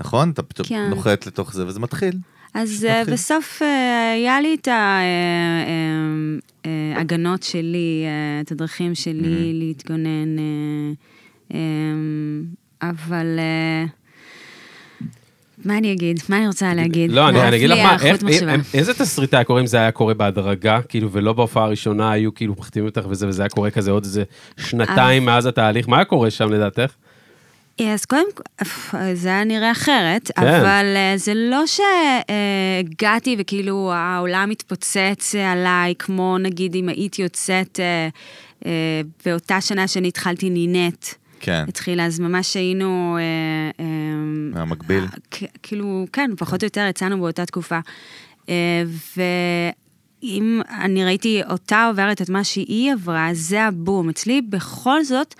Speaker 3: נכון? אתה פתאום
Speaker 2: כן.
Speaker 3: נוחת לתוך זה, וזה מתחיל.
Speaker 2: אז אה,
Speaker 3: מתחיל.
Speaker 2: בסוף אה, היה לי את ההגנות שלי, אה, את הדרכים שלי להתגונן, אה, אה, אבל אה, מה אני אגיד? מה אני רוצה להגיד?
Speaker 1: לא, אני, אני אגיד לך מה,
Speaker 2: להפליח
Speaker 1: איך,
Speaker 2: חוט מחשבה.
Speaker 1: איך, איזה תסריטי היה קורה אם זה היה קורה בהדרגה, כאילו, ולא בהופעה הראשונה היו כאילו מחתימים אותך וזה, וזה היה קורה כזה עוד איזה שנתיים
Speaker 2: אה.
Speaker 1: מאז התהליך, מה היה קורה שם לדעתך?
Speaker 2: אז קודם כל, אף, זה היה נראה אחרת,
Speaker 1: כן.
Speaker 2: אבל אה, זה לא שהגעתי וכאילו העולם התפוצץ אה, עליי, כמו נגיד אם הייתי יוצאת אה, אה, באותה שנה שאני התחלתי נינט.
Speaker 3: כן,
Speaker 2: התחילה, אז ממש היינו... אה, אה,
Speaker 3: מהמקביל.
Speaker 2: אה, כ- כאילו, כן, פחות או יותר יצאנו באותה תקופה. אה, ואם אני ראיתי אותה עוברת את מה שהיא עברה, זה הבום. אצלי, בכל זאת,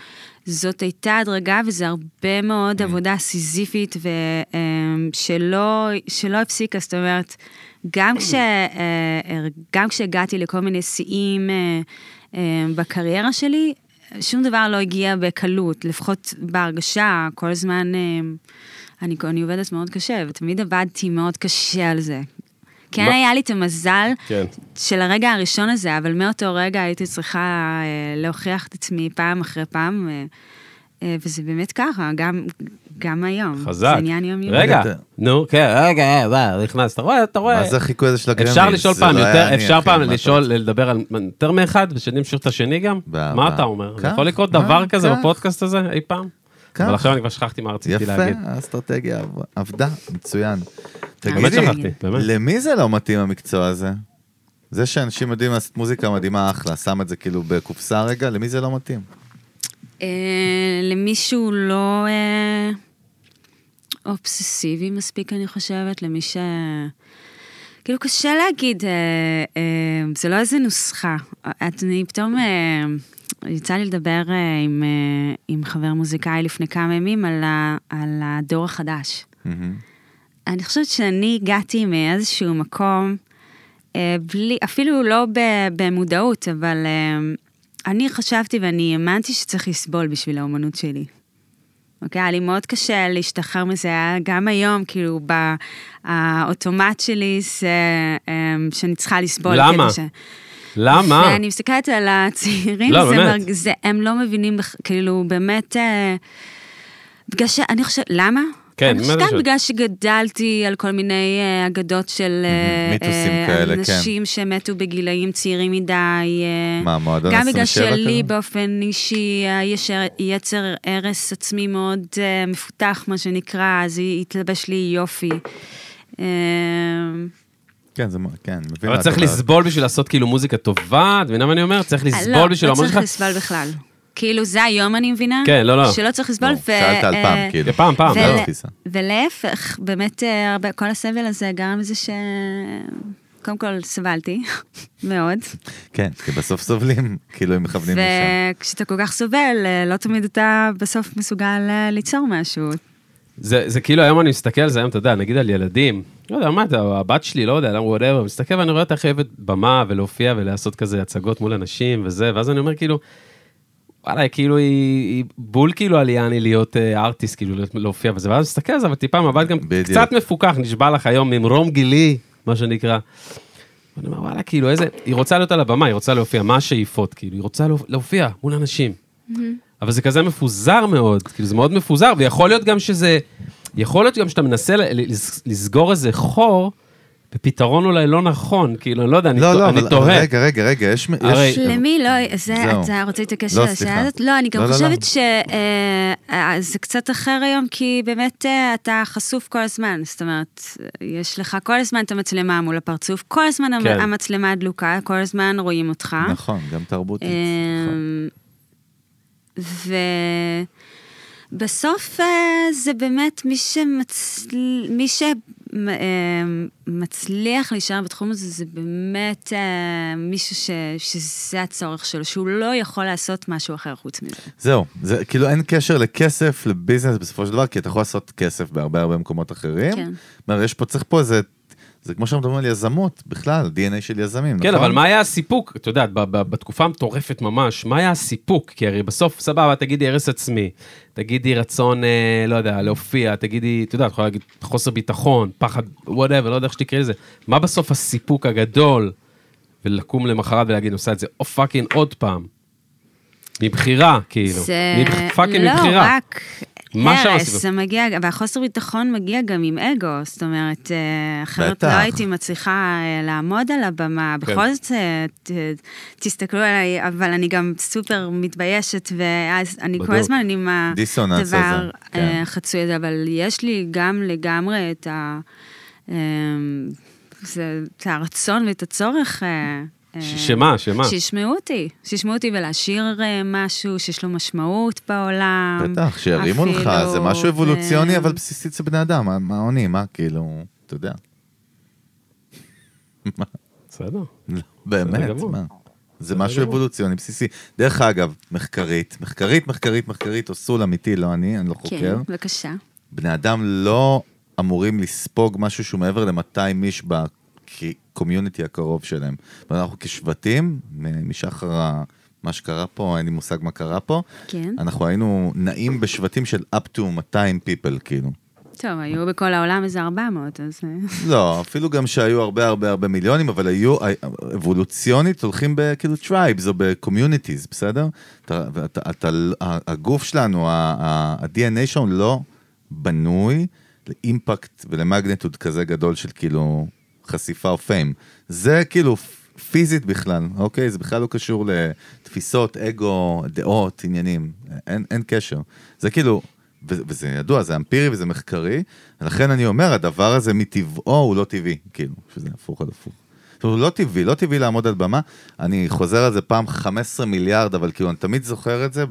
Speaker 2: זאת הייתה הדרגה, וזה הרבה מאוד עבודה סיזיפית, ו- אה, שלא שלא הפסיקה, זאת אומרת, גם, כש, אה, הר- גם כשהגעתי לכל מיני שיאים אה, אה, בקריירה שלי, שום דבר לא הגיע בקלות, לפחות בהרגשה, כל הזמן אה, אני, אני עובדת מאוד קשה, ותמיד עבדתי מאוד קשה על זה. כן,
Speaker 1: מה-
Speaker 2: היה לי את המזל
Speaker 1: כן.
Speaker 2: של הרגע הראשון הזה, אבל מאותו רגע הייתי צריכה אה, להוכיח את עצמי פעם אחרי פעם, אה, אה, וזה באמת ככה, גם, גם היום.
Speaker 1: חזק.
Speaker 2: זה עניין יומיומי.
Speaker 1: רגע,
Speaker 3: רגע.
Speaker 1: נו, כן, רגע, אה, וואו, נכנס, אתה רואה, אתה רואה.
Speaker 3: אה. מה זה החיקוי הזה של הגרמי? לא
Speaker 1: אפשר לשאול פעם יותר, אפשר פעם לשאול, לדבר על יותר מאחד, ושאני אמשיך את השני גם?
Speaker 3: ב-
Speaker 1: מה
Speaker 3: ב-
Speaker 1: אתה אומר? זה
Speaker 3: כך,
Speaker 1: יכול לקרות
Speaker 3: מה,
Speaker 1: דבר כזה
Speaker 3: כך.
Speaker 1: בפודקאסט הזה אי פעם?
Speaker 3: כך.
Speaker 1: אבל עכשיו אני כבר שכחתי מה רציתי
Speaker 3: יפה,
Speaker 1: להגיד.
Speaker 3: האסטרטגיה עב- עבדה, מצוין.
Speaker 2: כן.
Speaker 1: באמת
Speaker 3: תגידי,
Speaker 1: שכחתי, באמת.
Speaker 3: למי זה לא מתאים המקצוע הזה? זה שאנשים יודעים לעשות מוזיקה מדהימה, אחלה, שם את זה כאילו בקופסה רגע, למי זה לא מתאים?
Speaker 2: אה, למישהו לא אה, אובססיבי מספיק, אני חושבת, למי ש... כאילו, קשה להגיד, אה, אה, זה לא איזה נוסחה. את- אני פתאום... אה, יצא לי לדבר אה, עם, אה, עם חבר מוזיקאי לפני כמה ימים על, ה, על הדור החדש.
Speaker 3: מהמם.
Speaker 2: אני חושבת שאני הגעתי מאיזשהו מקום, אה, בלי, אפילו לא ב, במודעות, אבל אה, אני חשבתי ואני האמנתי שצריך לסבול בשביל האומנות שלי. אוקיי? היה לי מאוד קשה להשתחרר מזה, היה גם היום, כאילו, ב- האוטומט שלי זה אה, שאני צריכה לסבול.
Speaker 1: למה?
Speaker 2: כאילו ש-
Speaker 1: למה?
Speaker 2: ואני מסתכלת על הצעירים,
Speaker 1: לא,
Speaker 2: זה
Speaker 1: באמת.
Speaker 2: מרג- זה, הם לא מבינים, בכ- כאילו, באמת, אה, בגלל ש... אני חושבת, למה?
Speaker 1: כן,
Speaker 2: אני
Speaker 1: מה
Speaker 2: חושבת
Speaker 1: זה
Speaker 2: גם
Speaker 1: שואל?
Speaker 2: בגלל שגדלתי על כל מיני אה, אגדות של אה,
Speaker 3: מיתוסים
Speaker 2: אה,
Speaker 3: כאלה, כן.
Speaker 2: אנשים שמתו בגילאים צעירים מדי. אה,
Speaker 3: מה, מועדון
Speaker 2: גם בגלל
Speaker 3: 27 כזה?
Speaker 2: שלי באופן אישי אה, יש אה, יצר הרס עצמי מאוד אה, מפותח, מה שנקרא, אז היא- התלבש לי יופי. אה,
Speaker 3: כן, זה, מ- כן, מבין
Speaker 1: אבל
Speaker 3: מה
Speaker 1: צריך
Speaker 3: את אומרת.
Speaker 1: לסבול בשביל לעשות כאילו מוזיקה טובה, את מבינה מה אני אומר? צריך לסבול בשביל
Speaker 2: לא,
Speaker 1: האומנות
Speaker 2: לא
Speaker 1: שלך.
Speaker 2: צריך לסבול בכלל. כאילו, זה היום אני מבינה.
Speaker 1: כן, לא, לא.
Speaker 2: שלא צריך לסבול.
Speaker 3: לא, שאלת על
Speaker 2: אה,
Speaker 3: פעם, כאילו.
Speaker 1: פעם, פעם,
Speaker 3: זה
Speaker 1: לא.
Speaker 3: התפיסה.
Speaker 2: ולהפך, באמת, אה, הרבה- כל הסבל הזה גרם לזה ש... קודם כל, סבלתי (laughs) מאוד.
Speaker 3: כן, כי בסוף סובלים, כאילו הם מכוונים לשם.
Speaker 2: וכשאתה כל כך סובל, אה, לא תמיד אתה בסוף מסוגל אה, ליצור משהו.
Speaker 1: זה, זה כאילו היום אני מסתכל על זה היום, אתה יודע, נגיד על ילדים, לא יודע, מה אתה, הבת שלי, לא יודע, למה וואטאבר, מסתכל ואני רואה אותה חייבת במה ולהופיע ולעשות כזה הצגות מול אנשים וזה, ואז אני אומר כאילו, וואלה, היא כאילו היא, היא בול כאילו עליאני להיות אה, ארטיסט, כאילו להיות- להופיע וזה, ואז מסתכל על זה, אבל טיפה מבט גם
Speaker 3: בדיוק.
Speaker 1: קצת מפוקח, נשבע לך היום, ממרום גילי, מה שנקרא. אני אומר, וואלה, כאילו איזה, היא רוצה להיות על הבמה, היא רוצה להופיע, מה השאיפות, כאילו, היא רוצה להופ- להופיע מול אנשים. אבל זה כזה מפוזר מאוד, כאילו זה מאוד מפוזר, ויכול להיות גם שזה, יכול להיות גם שאתה מנסה ל- ל- לס- לסגור איזה חור, בפתרון אולי לא נכון, כאילו, אני לא יודע, אני
Speaker 3: לא,
Speaker 1: טוע-
Speaker 3: לא,
Speaker 1: אני
Speaker 3: אבל
Speaker 1: תוהה.
Speaker 3: רגע, רגע, רגע, יש...
Speaker 1: הרי-
Speaker 3: יש-
Speaker 2: למי לא, זה,
Speaker 3: אוקיי. זהו.
Speaker 2: אתה רוצה להתעקש
Speaker 3: לא,
Speaker 2: על השאלה
Speaker 3: סליחה.
Speaker 2: הזאת? לא, אני גם
Speaker 3: לא, לא, לא.
Speaker 2: חושבת שזה קצת אחר היום, כי באמת אה, אתה חשוף כל הזמן, זאת אומרת, יש לך כל הזמן את המצלמה מול הפרצוף, כל הזמן המ-
Speaker 1: כן.
Speaker 2: המצלמה דלוקה, כל הזמן רואים אותך.
Speaker 3: נכון, גם תרבותית.
Speaker 2: אמ-
Speaker 3: נכון.
Speaker 2: ובסוף אה, זה באמת מי, שמצל... מי שמצליח להישאר בתחום הזה, זה באמת אה, מישהו ש... שזה הצורך שלו, שהוא לא יכול לעשות משהו אחר חוץ מזה.
Speaker 3: זהו, זה כאילו אין קשר לכסף, לביזנס בסופו של דבר, כי אתה יכול לעשות כסף בהרבה הרבה מקומות אחרים.
Speaker 2: כן.
Speaker 3: כן. יש פה, צריך פה איזה, זה כמו שאנחנו מדברים על יזמות, בכלל, DNA של יזמים,
Speaker 1: כן,
Speaker 3: נכון?
Speaker 1: אבל מה היה הסיפוק? את יודעת, ב- ב- בתקופה המטורפת ממש, מה היה הסיפוק? כי הרי בסוף, סבבה, תגידי הרס עצמי, תגידי רצון, אה, לא יודע, להופיע, תגידי, אתה יודע, את יכולה להגיד חוסר ביטחון, פחד, וואטאבר, לא יודע איך שתקראי לזה. מה בסוף הסיפוק הגדול? ולקום למחרת ולהגיד, עושה את זה או פאקינג עוד פעם. מבחירה, כאילו. מבח- פאקינג
Speaker 2: לא
Speaker 1: מבחירה.
Speaker 2: רק
Speaker 1: מה שאר
Speaker 2: הרס,
Speaker 1: הסיבות?
Speaker 2: זה מגיע, והחוסר ביטחון מגיע גם עם אגו, זאת אומרת, אה, אחרת
Speaker 3: בטח.
Speaker 2: לא הייתי מצליחה אה, לעמוד על הבמה.
Speaker 1: כן.
Speaker 2: בכל זאת, אה, ת- תסתכלו עליי, אבל אני גם סופר מתביישת, ואז אני כל
Speaker 1: בדיוק.
Speaker 2: הזמן עם
Speaker 3: דיסוננס הזה,
Speaker 2: הדבר
Speaker 3: כן.
Speaker 2: אה, חצוי הזה, אבל יש לי גם לגמרי את ה... אה, זה- את הרצון ואת הצורך. אה, אה,
Speaker 1: ש- שמה, שמה?
Speaker 2: שישמעו אותי, שישמעו אותי ולהשאיר אה, משהו שיש לו משמעות בעולם.
Speaker 3: בטח, שירימו לך,
Speaker 2: אפילו,
Speaker 3: זה משהו אבולוציוני,
Speaker 2: אה,
Speaker 3: אבל בסיסי אצל בני אדם, מה- מה עונים, מה, כאילו, אתה יודע. (laughs) מה?
Speaker 1: בסדר.
Speaker 3: באמת,
Speaker 1: גמור.
Speaker 3: מה? זה משהו אבולוציוני בסיסי. דרך אגב, מחקרית, מחקרית, מחקרית, מחקרית, או סול אמיתי, לא אני, אני לא
Speaker 2: כן,
Speaker 3: חוקר.
Speaker 2: בבקשה.
Speaker 3: בני אדם לא אמורים לספוג משהו שהוא מעבר ל-200 איש בקומיוניטי הקרוב שלהם. ואנחנו כשבטים, מ- משחר ה- מה שקרה פה, אין לי מושג מה קרה פה,
Speaker 2: כן.
Speaker 3: אנחנו היינו נעים בשבטים של up to 200 people, כאילו.
Speaker 2: טוב, היו בכל העולם איזה 400, אז... אה,
Speaker 3: (laughs) לא, אפילו גם שהיו הרבה הרבה הרבה מיליונים, אבל היו אה, אבולוציונית הולכים בכאילו טרייבס או בקומיוניטיז, בסדר? אתה, אתה, אתה, הגוף שלנו, ה- ה- ה-DNA שלנו לא בנוי לאימפקט ולמגנטוד כזה גדול של כאילו חשיפה או פיים. זה כאילו פיזית בכלל, אוקיי? זה בכלל לא קשור לתפיסות, אגו, דעות, עניינים. אין, אין קשר. זה כאילו, ו- וזה ידוע, זה אמפירי וזה מחקרי, ולכן אני אומר, הדבר הזה מטבעו הוא לא טבעי, כאילו, שזה הפוך על הפוך. זאת אומרת, הוא לא טבעי, לא טבעי לעמוד על במה. אני חוזר על זה פעם 15 מיליארד, אבל כאילו, אני תמיד זוכר את זה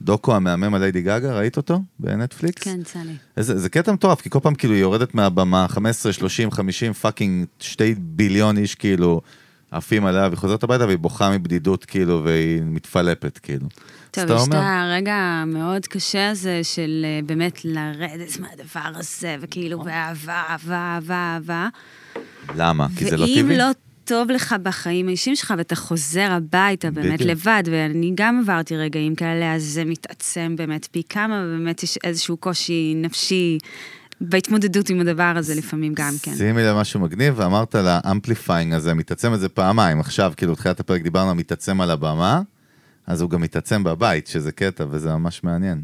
Speaker 3: בדוקו המהמם על ליידי גאגה, ראית אותו? בנטפליקס?
Speaker 2: כן, צלי.
Speaker 3: זה, זה קטע מטורף, כי כל פעם כאילו היא יורדת מהבמה, 15, 30, 50, פאקינג שתי ביליון איש כאילו עפים עליה, והיא חוזרת הביתה והיא בוכה מבדידות כאילו, והיא מתפלפת כאילו.
Speaker 2: טוב,
Speaker 3: אז אתה
Speaker 2: יש את
Speaker 3: אומר,
Speaker 2: הרגע המאוד קשה הזה של אה, באמת לרדת מהדבר הזה, וכאילו, ואהבה, אהבה, אהבה, אהבה.
Speaker 3: למה? כי זה לא
Speaker 2: ואם
Speaker 3: טבעי.
Speaker 2: לא טוב לך בחיים האישיים שלך, ואתה חוזר הביתה באמת
Speaker 3: בדיוק.
Speaker 2: לבד, ואני גם עברתי רגעים כאלה, אז זה מתעצם באמת פי כמה, ובאמת יש איזשהו קושי נפשי בהתמודדות עם הדבר הזה לפעמים גם כן.
Speaker 3: שימי לב משהו מגניב, ואמרת על האמפליפיינג הזה, מתעצם את זה פעמיים. עכשיו, כאילו, בתחילת הפרק דיברנו על מתעצם על הבמה, אז הוא גם מתעצם בבית, שזה קטע, וזה ממש מעניין.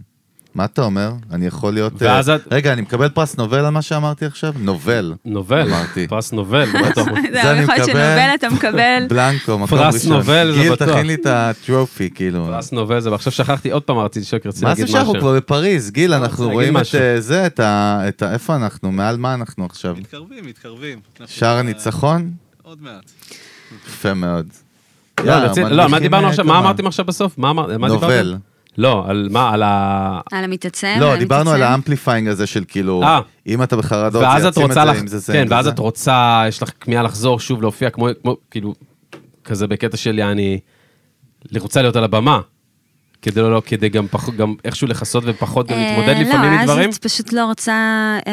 Speaker 3: מה אתה אומר? אני יכול להיות... אה,
Speaker 1: ואז את-
Speaker 3: רגע, אני מקבל פרס נובל על מה שאמרתי עכשיו?
Speaker 1: (laughs)
Speaker 3: נובל.
Speaker 1: נובל,
Speaker 3: אמרתי.
Speaker 1: פרס נובל,
Speaker 3: (laughs)
Speaker 1: בטוח.
Speaker 3: זה
Speaker 2: זה
Speaker 3: אני
Speaker 2: יכול להיות
Speaker 3: מקבל.
Speaker 2: שנובל אתה
Speaker 3: (laughs)
Speaker 2: מקבל.
Speaker 3: בלנקו, מקום ראשון.
Speaker 1: פרס נובל, זה
Speaker 3: גיל,
Speaker 1: בטוח.
Speaker 3: תכין לי את הטרופי, כאילו.
Speaker 1: פרס נובל זה, ועכשיו שכחתי עוד פעם, רציתי לשאול, רציתי
Speaker 3: מה
Speaker 1: להגיד
Speaker 3: זה
Speaker 1: משהו.
Speaker 3: שאנחנו כבר בפריז, גיל, אנחנו
Speaker 1: להגיד
Speaker 3: רואים את
Speaker 1: משהו.
Speaker 3: אה, זה, את ה... את ה- איפה אנחנו, מעל מה אנחנו עכשיו?
Speaker 4: מתקרבים, מתקרבים. אנחנו-
Speaker 3: שער הניצחון?
Speaker 4: עוד מעט.
Speaker 3: יפה מאוד.
Speaker 1: לא,
Speaker 3: יאללה,
Speaker 1: רצית- לא,
Speaker 3: מנמיכים,
Speaker 1: מה דיברנו
Speaker 3: אה,
Speaker 1: עכשיו?
Speaker 3: כמה?
Speaker 1: מה אמרתם עכשיו בסוף? מה אמר- על מה דיברתם?
Speaker 3: נובל.
Speaker 1: לא, על מה? על ה...
Speaker 2: על המתעצם,
Speaker 3: לא,
Speaker 2: על
Speaker 3: דיברנו על
Speaker 2: המתעצם.
Speaker 3: האמפליפיינג הזה של כאילו,
Speaker 1: אה.
Speaker 3: אם אתה בחרדות,
Speaker 1: ואז
Speaker 3: זה
Speaker 1: את
Speaker 3: יעצים
Speaker 1: רוצה
Speaker 3: לא
Speaker 1: לך...
Speaker 3: את זה, אם זה זה,
Speaker 1: כן,
Speaker 3: אם זה
Speaker 1: ואז
Speaker 3: זה.
Speaker 1: את רוצה, יש לך כמיהה לחזור שוב להופיע כמו, כמו- כאילו, כזה בקטע של יעני, רוצה להיות על הבמה. כדי לא, לא, כדי גם פחות, גם איכשהו לכסות ופחות גם להתמודד
Speaker 2: אה,
Speaker 1: לפעמים עם דברים.
Speaker 2: לא, אז את פשוט לא רוצה אה,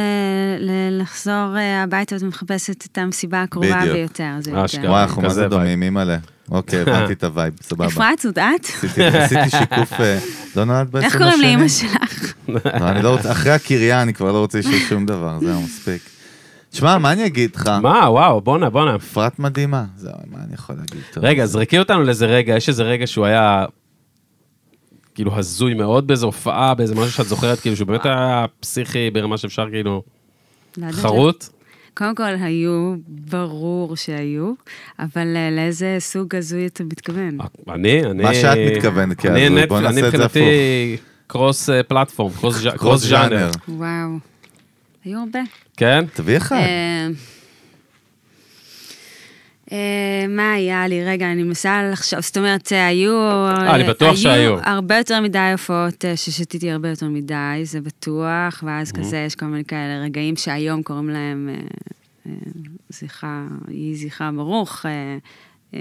Speaker 2: ל- לחזור אה, הביתה, ואת מחפשת את המסיבה הקרובה
Speaker 3: בדיוק.
Speaker 2: ביותר. זה
Speaker 1: אשכרה.
Speaker 2: יותר.
Speaker 3: וואי, אנחנו מה
Speaker 1: כזה
Speaker 3: זה דומים, אימא'לה.
Speaker 1: (laughs)
Speaker 3: אוקיי, הבנתי את הווייב, סבבה.
Speaker 2: אפרת, זאת את?
Speaker 3: עשיתי- עשיתי שיקוף, אה, לא נולד בעצם
Speaker 2: איך קוראים
Speaker 3: השני?
Speaker 2: לאימא שלך?
Speaker 3: לא, אני לא רוצה, אחרי הקריה אני כבר לא רוצה לשאול שום דבר, זהו, מספיק. תשמע, מה אני אגיד לך?
Speaker 1: מה, וואו, בואנה, בואנה.
Speaker 3: אפרת מדהימה, זהו, מה אני יכול להגיד? טוב.
Speaker 1: רגע, זרקי אותנו לאיזה רגע, יש איזה רגע שהוא היה כאילו הזוי מאוד באיזה הופעה, באיזה משהו שאת זוכרת, כאילו שהוא באמת היה פסיכי ברמה שאפשר כאילו
Speaker 2: לא יודעת.
Speaker 1: חרוט.
Speaker 2: קודם כל, היו, ברור שהיו, אבל אה, לאיזה סוג הזוי אתה מתכוון?
Speaker 1: אה. אני, אני...
Speaker 3: מה שאת מתכוונת, כי
Speaker 1: אני
Speaker 3: אז
Speaker 1: נט-
Speaker 3: בוא נעשה
Speaker 1: אני
Speaker 3: את זה
Speaker 1: מבחינתי קרוס אה, פלטפורם, קרוס ז'- קרוס
Speaker 3: קרוס
Speaker 1: ז'אנר.
Speaker 3: ז'אנר.
Speaker 2: וואו, היו הרבה.
Speaker 1: כן?
Speaker 3: תביא אחד.
Speaker 2: אה, אה, מה היה לי? רגע, אני מנסה לחשוב, זאת אומרת, אה, היו... אה,
Speaker 1: אני בטוח שהיו.
Speaker 2: הרבה יותר מדי הופעות אה, ששתיתי הרבה יותר מדי, זה בטוח,
Speaker 1: Mhm.
Speaker 2: ואז כזה יש כל מיני כאלה רגעים שהיום קוראים להם אה, אה, זכרה, יהי זכרה ברוך. אה, אה,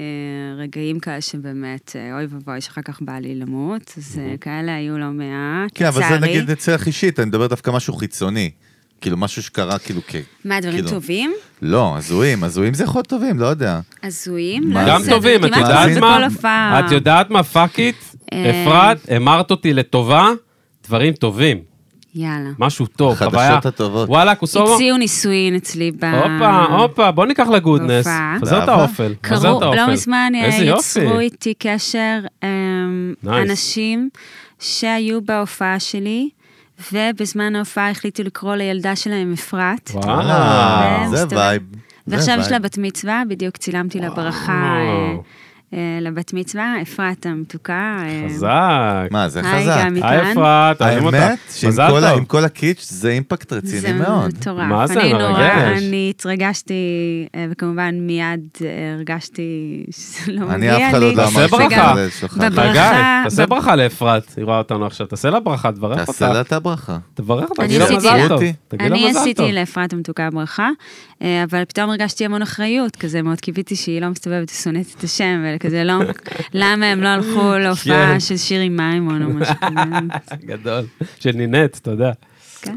Speaker 2: רגעים כאלה שבאמת, אה, אוי ואבוי, שאחר כך בא לי למות, אז
Speaker 1: Mhm.
Speaker 2: אה, כאלה היו לא מעט,
Speaker 3: כן, אבל
Speaker 2: לצערי.
Speaker 3: זה נגיד אצלך אישית, אני מדבר דווקא משהו חיצוני. כאילו, משהו שקרה כאילו כ...
Speaker 2: מה, דברים
Speaker 3: כאילו-
Speaker 2: טובים?
Speaker 3: לא, הזויים, הזויים זה יכול להיות טובים, לא יודע.
Speaker 2: הזויים?
Speaker 3: מה?
Speaker 2: לא,
Speaker 1: גם
Speaker 2: זה
Speaker 1: טובים, את
Speaker 2: כמעט
Speaker 1: יודעת
Speaker 2: זה
Speaker 1: מה?
Speaker 2: כל הופעה.
Speaker 1: את יודעת מה, פאק איט,
Speaker 2: אה.
Speaker 1: אפרת, המרת אותי לטובה, דברים טובים,
Speaker 2: יאללה.
Speaker 1: משהו טוב,
Speaker 3: החדשות
Speaker 1: חוויה.
Speaker 3: הטובות.
Speaker 1: וואלה, קוסומו.
Speaker 2: הציעו נישואין אצלי ב...
Speaker 1: הופה, הופה, בוא ניקח לגודנס.
Speaker 2: בהופעה.
Speaker 1: חזר את
Speaker 3: באהבה.
Speaker 1: האופל, חזר את
Speaker 2: קרו,
Speaker 1: האופל.
Speaker 2: לא מזמן
Speaker 3: אה,
Speaker 1: איזה יופי.
Speaker 2: יצרו איתי קשר אמ,
Speaker 1: Nice.
Speaker 2: אנשים שהיו בהופעה שלי, ובזמן ההופעה החליטו לקרוא לילדה שלהם אפרת.
Speaker 1: וואלה.
Speaker 2: והם
Speaker 3: אה, זה
Speaker 2: אה, מסתובב-
Speaker 3: וייב. זה
Speaker 2: ועכשיו יש
Speaker 3: וייב.
Speaker 2: לה בת מצווה, בדיוק צילמתי לה ברכה אה, אה, לבת מצווה, אפרת המתוקה. אה,
Speaker 1: חזק.
Speaker 3: מה, זה
Speaker 2: היי,
Speaker 3: חזק.
Speaker 2: גם מכאן.
Speaker 1: היי אפרת, אוהבים אותך.
Speaker 3: האמת, שעם
Speaker 1: מזל
Speaker 3: כל ה- עם
Speaker 1: טוב.
Speaker 3: כל הקיץ' זה אימפקט רציני מאוד.
Speaker 2: זה מטורף.
Speaker 1: מה זה, לא
Speaker 2: אני
Speaker 1: מרגש.
Speaker 2: נורא, אני התרגשתי, אה, וכמובן מיד אה, הרגשתי שזה לא
Speaker 3: אני
Speaker 2: מגיע לי.
Speaker 3: אף אחד עוד לא אמר
Speaker 1: תעשה
Speaker 3: שזה
Speaker 1: ברכה.
Speaker 3: כולל שלך.
Speaker 2: בברכה.
Speaker 1: חגי,
Speaker 2: ברכה-
Speaker 1: תעשה
Speaker 2: ב-
Speaker 1: ברכה לאפרת, היא רואה אותנו עכשיו, תעשה לה ברכה, תברך אותה.
Speaker 3: תעשה לה את הברכה.
Speaker 1: תברך אותה,
Speaker 2: אני
Speaker 1: תגיד לה
Speaker 2: עשיתי
Speaker 1: מזל
Speaker 2: לה.
Speaker 1: טוב.
Speaker 3: אני
Speaker 1: תגיד לה
Speaker 2: אני
Speaker 1: מזל טוב.
Speaker 2: עשיתי לאפרת המתוקה ברכה, אה, אבל פתאום הרגשתי המון אחריות, כזה מאוד קיוויתי שהיא לא מסתובבת ושונאת את השם, וכזה
Speaker 3: (laughs)
Speaker 2: לא, למה הם לא הלכו
Speaker 1: כן.
Speaker 2: להופעה של שירי מימון או משהו
Speaker 3: (laughs)
Speaker 2: כזה.
Speaker 1: (laughs) גדול. של נינט, אתה יודע.
Speaker 2: כן.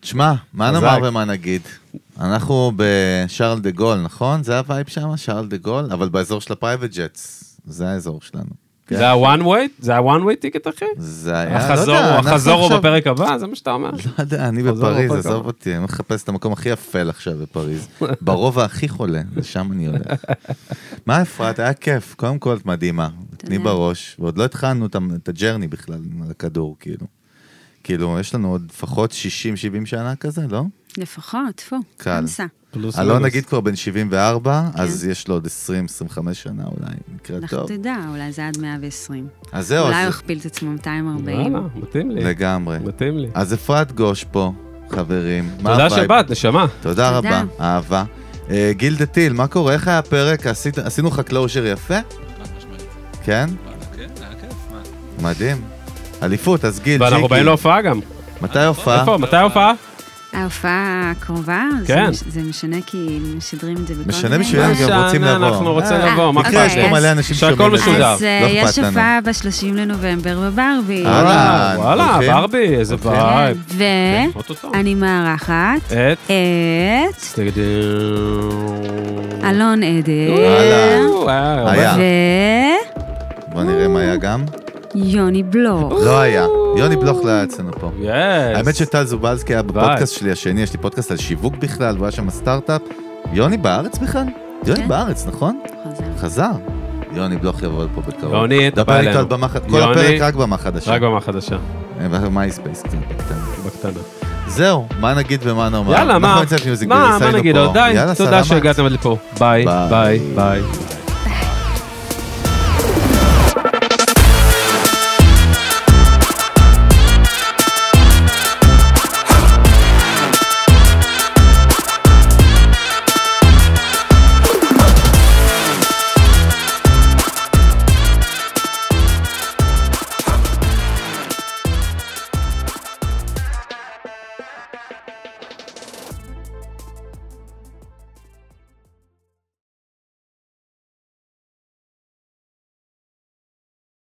Speaker 3: תשמע, מה
Speaker 1: חזק.
Speaker 3: נאמר ומה נגיד? אנחנו בשארל דה גול, נכון? זה הווייב שם, שארל דה גול, אבל באזור של הפרייבט ג'טס. זה האזור שלנו. כן.
Speaker 1: זה ה-one way? זה ה-one way טיקט, אחי?
Speaker 3: זה היה,
Speaker 1: החזור,
Speaker 3: לא יודע, אנחנו
Speaker 1: החזור הוא
Speaker 3: עכשיו-
Speaker 1: בפרק הבא? זה מה שאתה אומר?
Speaker 3: לא יודע, (laughs) אני
Speaker 1: חזור
Speaker 3: בפריז,
Speaker 1: בפרק
Speaker 3: עזוב
Speaker 1: הבא.
Speaker 3: אותי, אני מחפש את המקום הכי אפל עכשיו
Speaker 1: (laughs)
Speaker 3: בפריז. ברובע הכי חולה, לשם אני הולך. מה אפרת, היה כיף, קודם כל את מדהימה, תני
Speaker 2: תודה.
Speaker 3: בראש, ועוד לא התחלנו את ה- את הג'רני בכלל, על הכדור, כאילו. כאילו, יש לנו עוד לפחות 60-70 שנה כזה, לא?
Speaker 2: לפחות, טפו,
Speaker 3: קל.
Speaker 2: חמסה.
Speaker 1: פלוס
Speaker 3: אלון
Speaker 1: מינוס.
Speaker 3: נגיד כבר בן 74,
Speaker 2: כן.
Speaker 3: אז יש לו עוד 20-25 שנה אולי, נקרא
Speaker 2: לך
Speaker 3: טוב. לא,
Speaker 2: תדע, אולי זה עד 120.
Speaker 3: אז זהו,
Speaker 2: אולי הוא
Speaker 3: אז
Speaker 2: הכפיל את עצמו 240.
Speaker 1: וואלה, לא, מתאים לי.
Speaker 3: לגמרי.
Speaker 1: מתאים לי.
Speaker 3: אז אפרת גוש פה, חברים. מה
Speaker 1: תודה
Speaker 3: הווייב? כן,
Speaker 1: שבאת, נשמה.
Speaker 3: תודה
Speaker 2: תודה.
Speaker 3: רבה, אהבה. אה, גיל דה טיל, מה קורה? איך היה הפרק? עשית- עשינו לך קלוז'ר יפה?
Speaker 4: חד משמעית.
Speaker 3: כן?
Speaker 4: וואלה, כן, היה כיף, מה?
Speaker 3: מדהים. אליפות, אז גיל,
Speaker 1: ואנחנו באים
Speaker 3: ג'יקי,
Speaker 1: להופעה גם.
Speaker 3: מתי הופעה?
Speaker 1: איפה, מתי ההופעה?
Speaker 2: ההופעה הקרובה, זה
Speaker 1: כן.
Speaker 2: מש- זה משנה כי משדרים את זה בכל מיני...
Speaker 3: משנה בשבילנו,
Speaker 1: מה
Speaker 3: כן, גם רוצים
Speaker 1: שנה,
Speaker 3: לבוא.
Speaker 1: אנחנו רוצים
Speaker 3: אה,
Speaker 1: לבוא, מה
Speaker 3: תקרא,
Speaker 2: אכפת
Speaker 3: יש פה
Speaker 2: לי?
Speaker 3: מלא אנשים
Speaker 1: שהכל
Speaker 3: ששומעים את זה.
Speaker 1: משודר.
Speaker 2: אוקיי. אז אה,
Speaker 3: לא
Speaker 2: יש
Speaker 3: אכפת לנו.
Speaker 2: הופעה ב-30 לנובמבר בברבי.
Speaker 3: אה, אוקיי. אהלן,
Speaker 1: וואלה,
Speaker 3: הולכים?
Speaker 1: ברבי, איזה
Speaker 3: הולכים.
Speaker 1: וייב.
Speaker 2: ואני
Speaker 1: אוטוטו.
Speaker 2: מארחת
Speaker 1: את...
Speaker 2: את
Speaker 1: אלון.
Speaker 2: אלון עדר
Speaker 3: אהלן. היה. בוא נראה מה היה גם.
Speaker 2: ויוני בלור.
Speaker 3: לא היה. יוני בלוך לא היה אצלנו פה. האמת שטל זובלסקי היה בפודקאסט שלי השני, יש לי פודקאסט על שיווק בכלל, והוא היה שם סטארט-אפ. יוני בארץ בכלל? יוני
Speaker 2: כן.
Speaker 3: בארץ, נכון?
Speaker 2: חזר.
Speaker 3: חזר. יוני בלוך יבוא לפה בקרוב.
Speaker 1: יוני, אתה בא
Speaker 3: דבר איתו
Speaker 1: אלינו.
Speaker 3: על במה חדשה. כל
Speaker 1: יוני-
Speaker 3: הפרק רק במה חדשה. אה,
Speaker 1: רק במה חדשה,
Speaker 3: מייספייס קצת כן, בקטנה.
Speaker 1: בקטנה.
Speaker 3: זהו, מה נכון, נגיד ומה נאמר.
Speaker 1: יאללה,
Speaker 3: אנחנו
Speaker 1: מה?
Speaker 3: נמצא את מיוזיק
Speaker 1: מה,
Speaker 3: בייס,
Speaker 1: מה
Speaker 3: היינו
Speaker 1: נגיד
Speaker 3: פה.
Speaker 1: עוד? די,
Speaker 3: יאללה,
Speaker 1: תודה
Speaker 3: סלמת.
Speaker 1: שהגעתם עד לפה. ביי,
Speaker 3: ביי.
Speaker 1: ביי, ביי.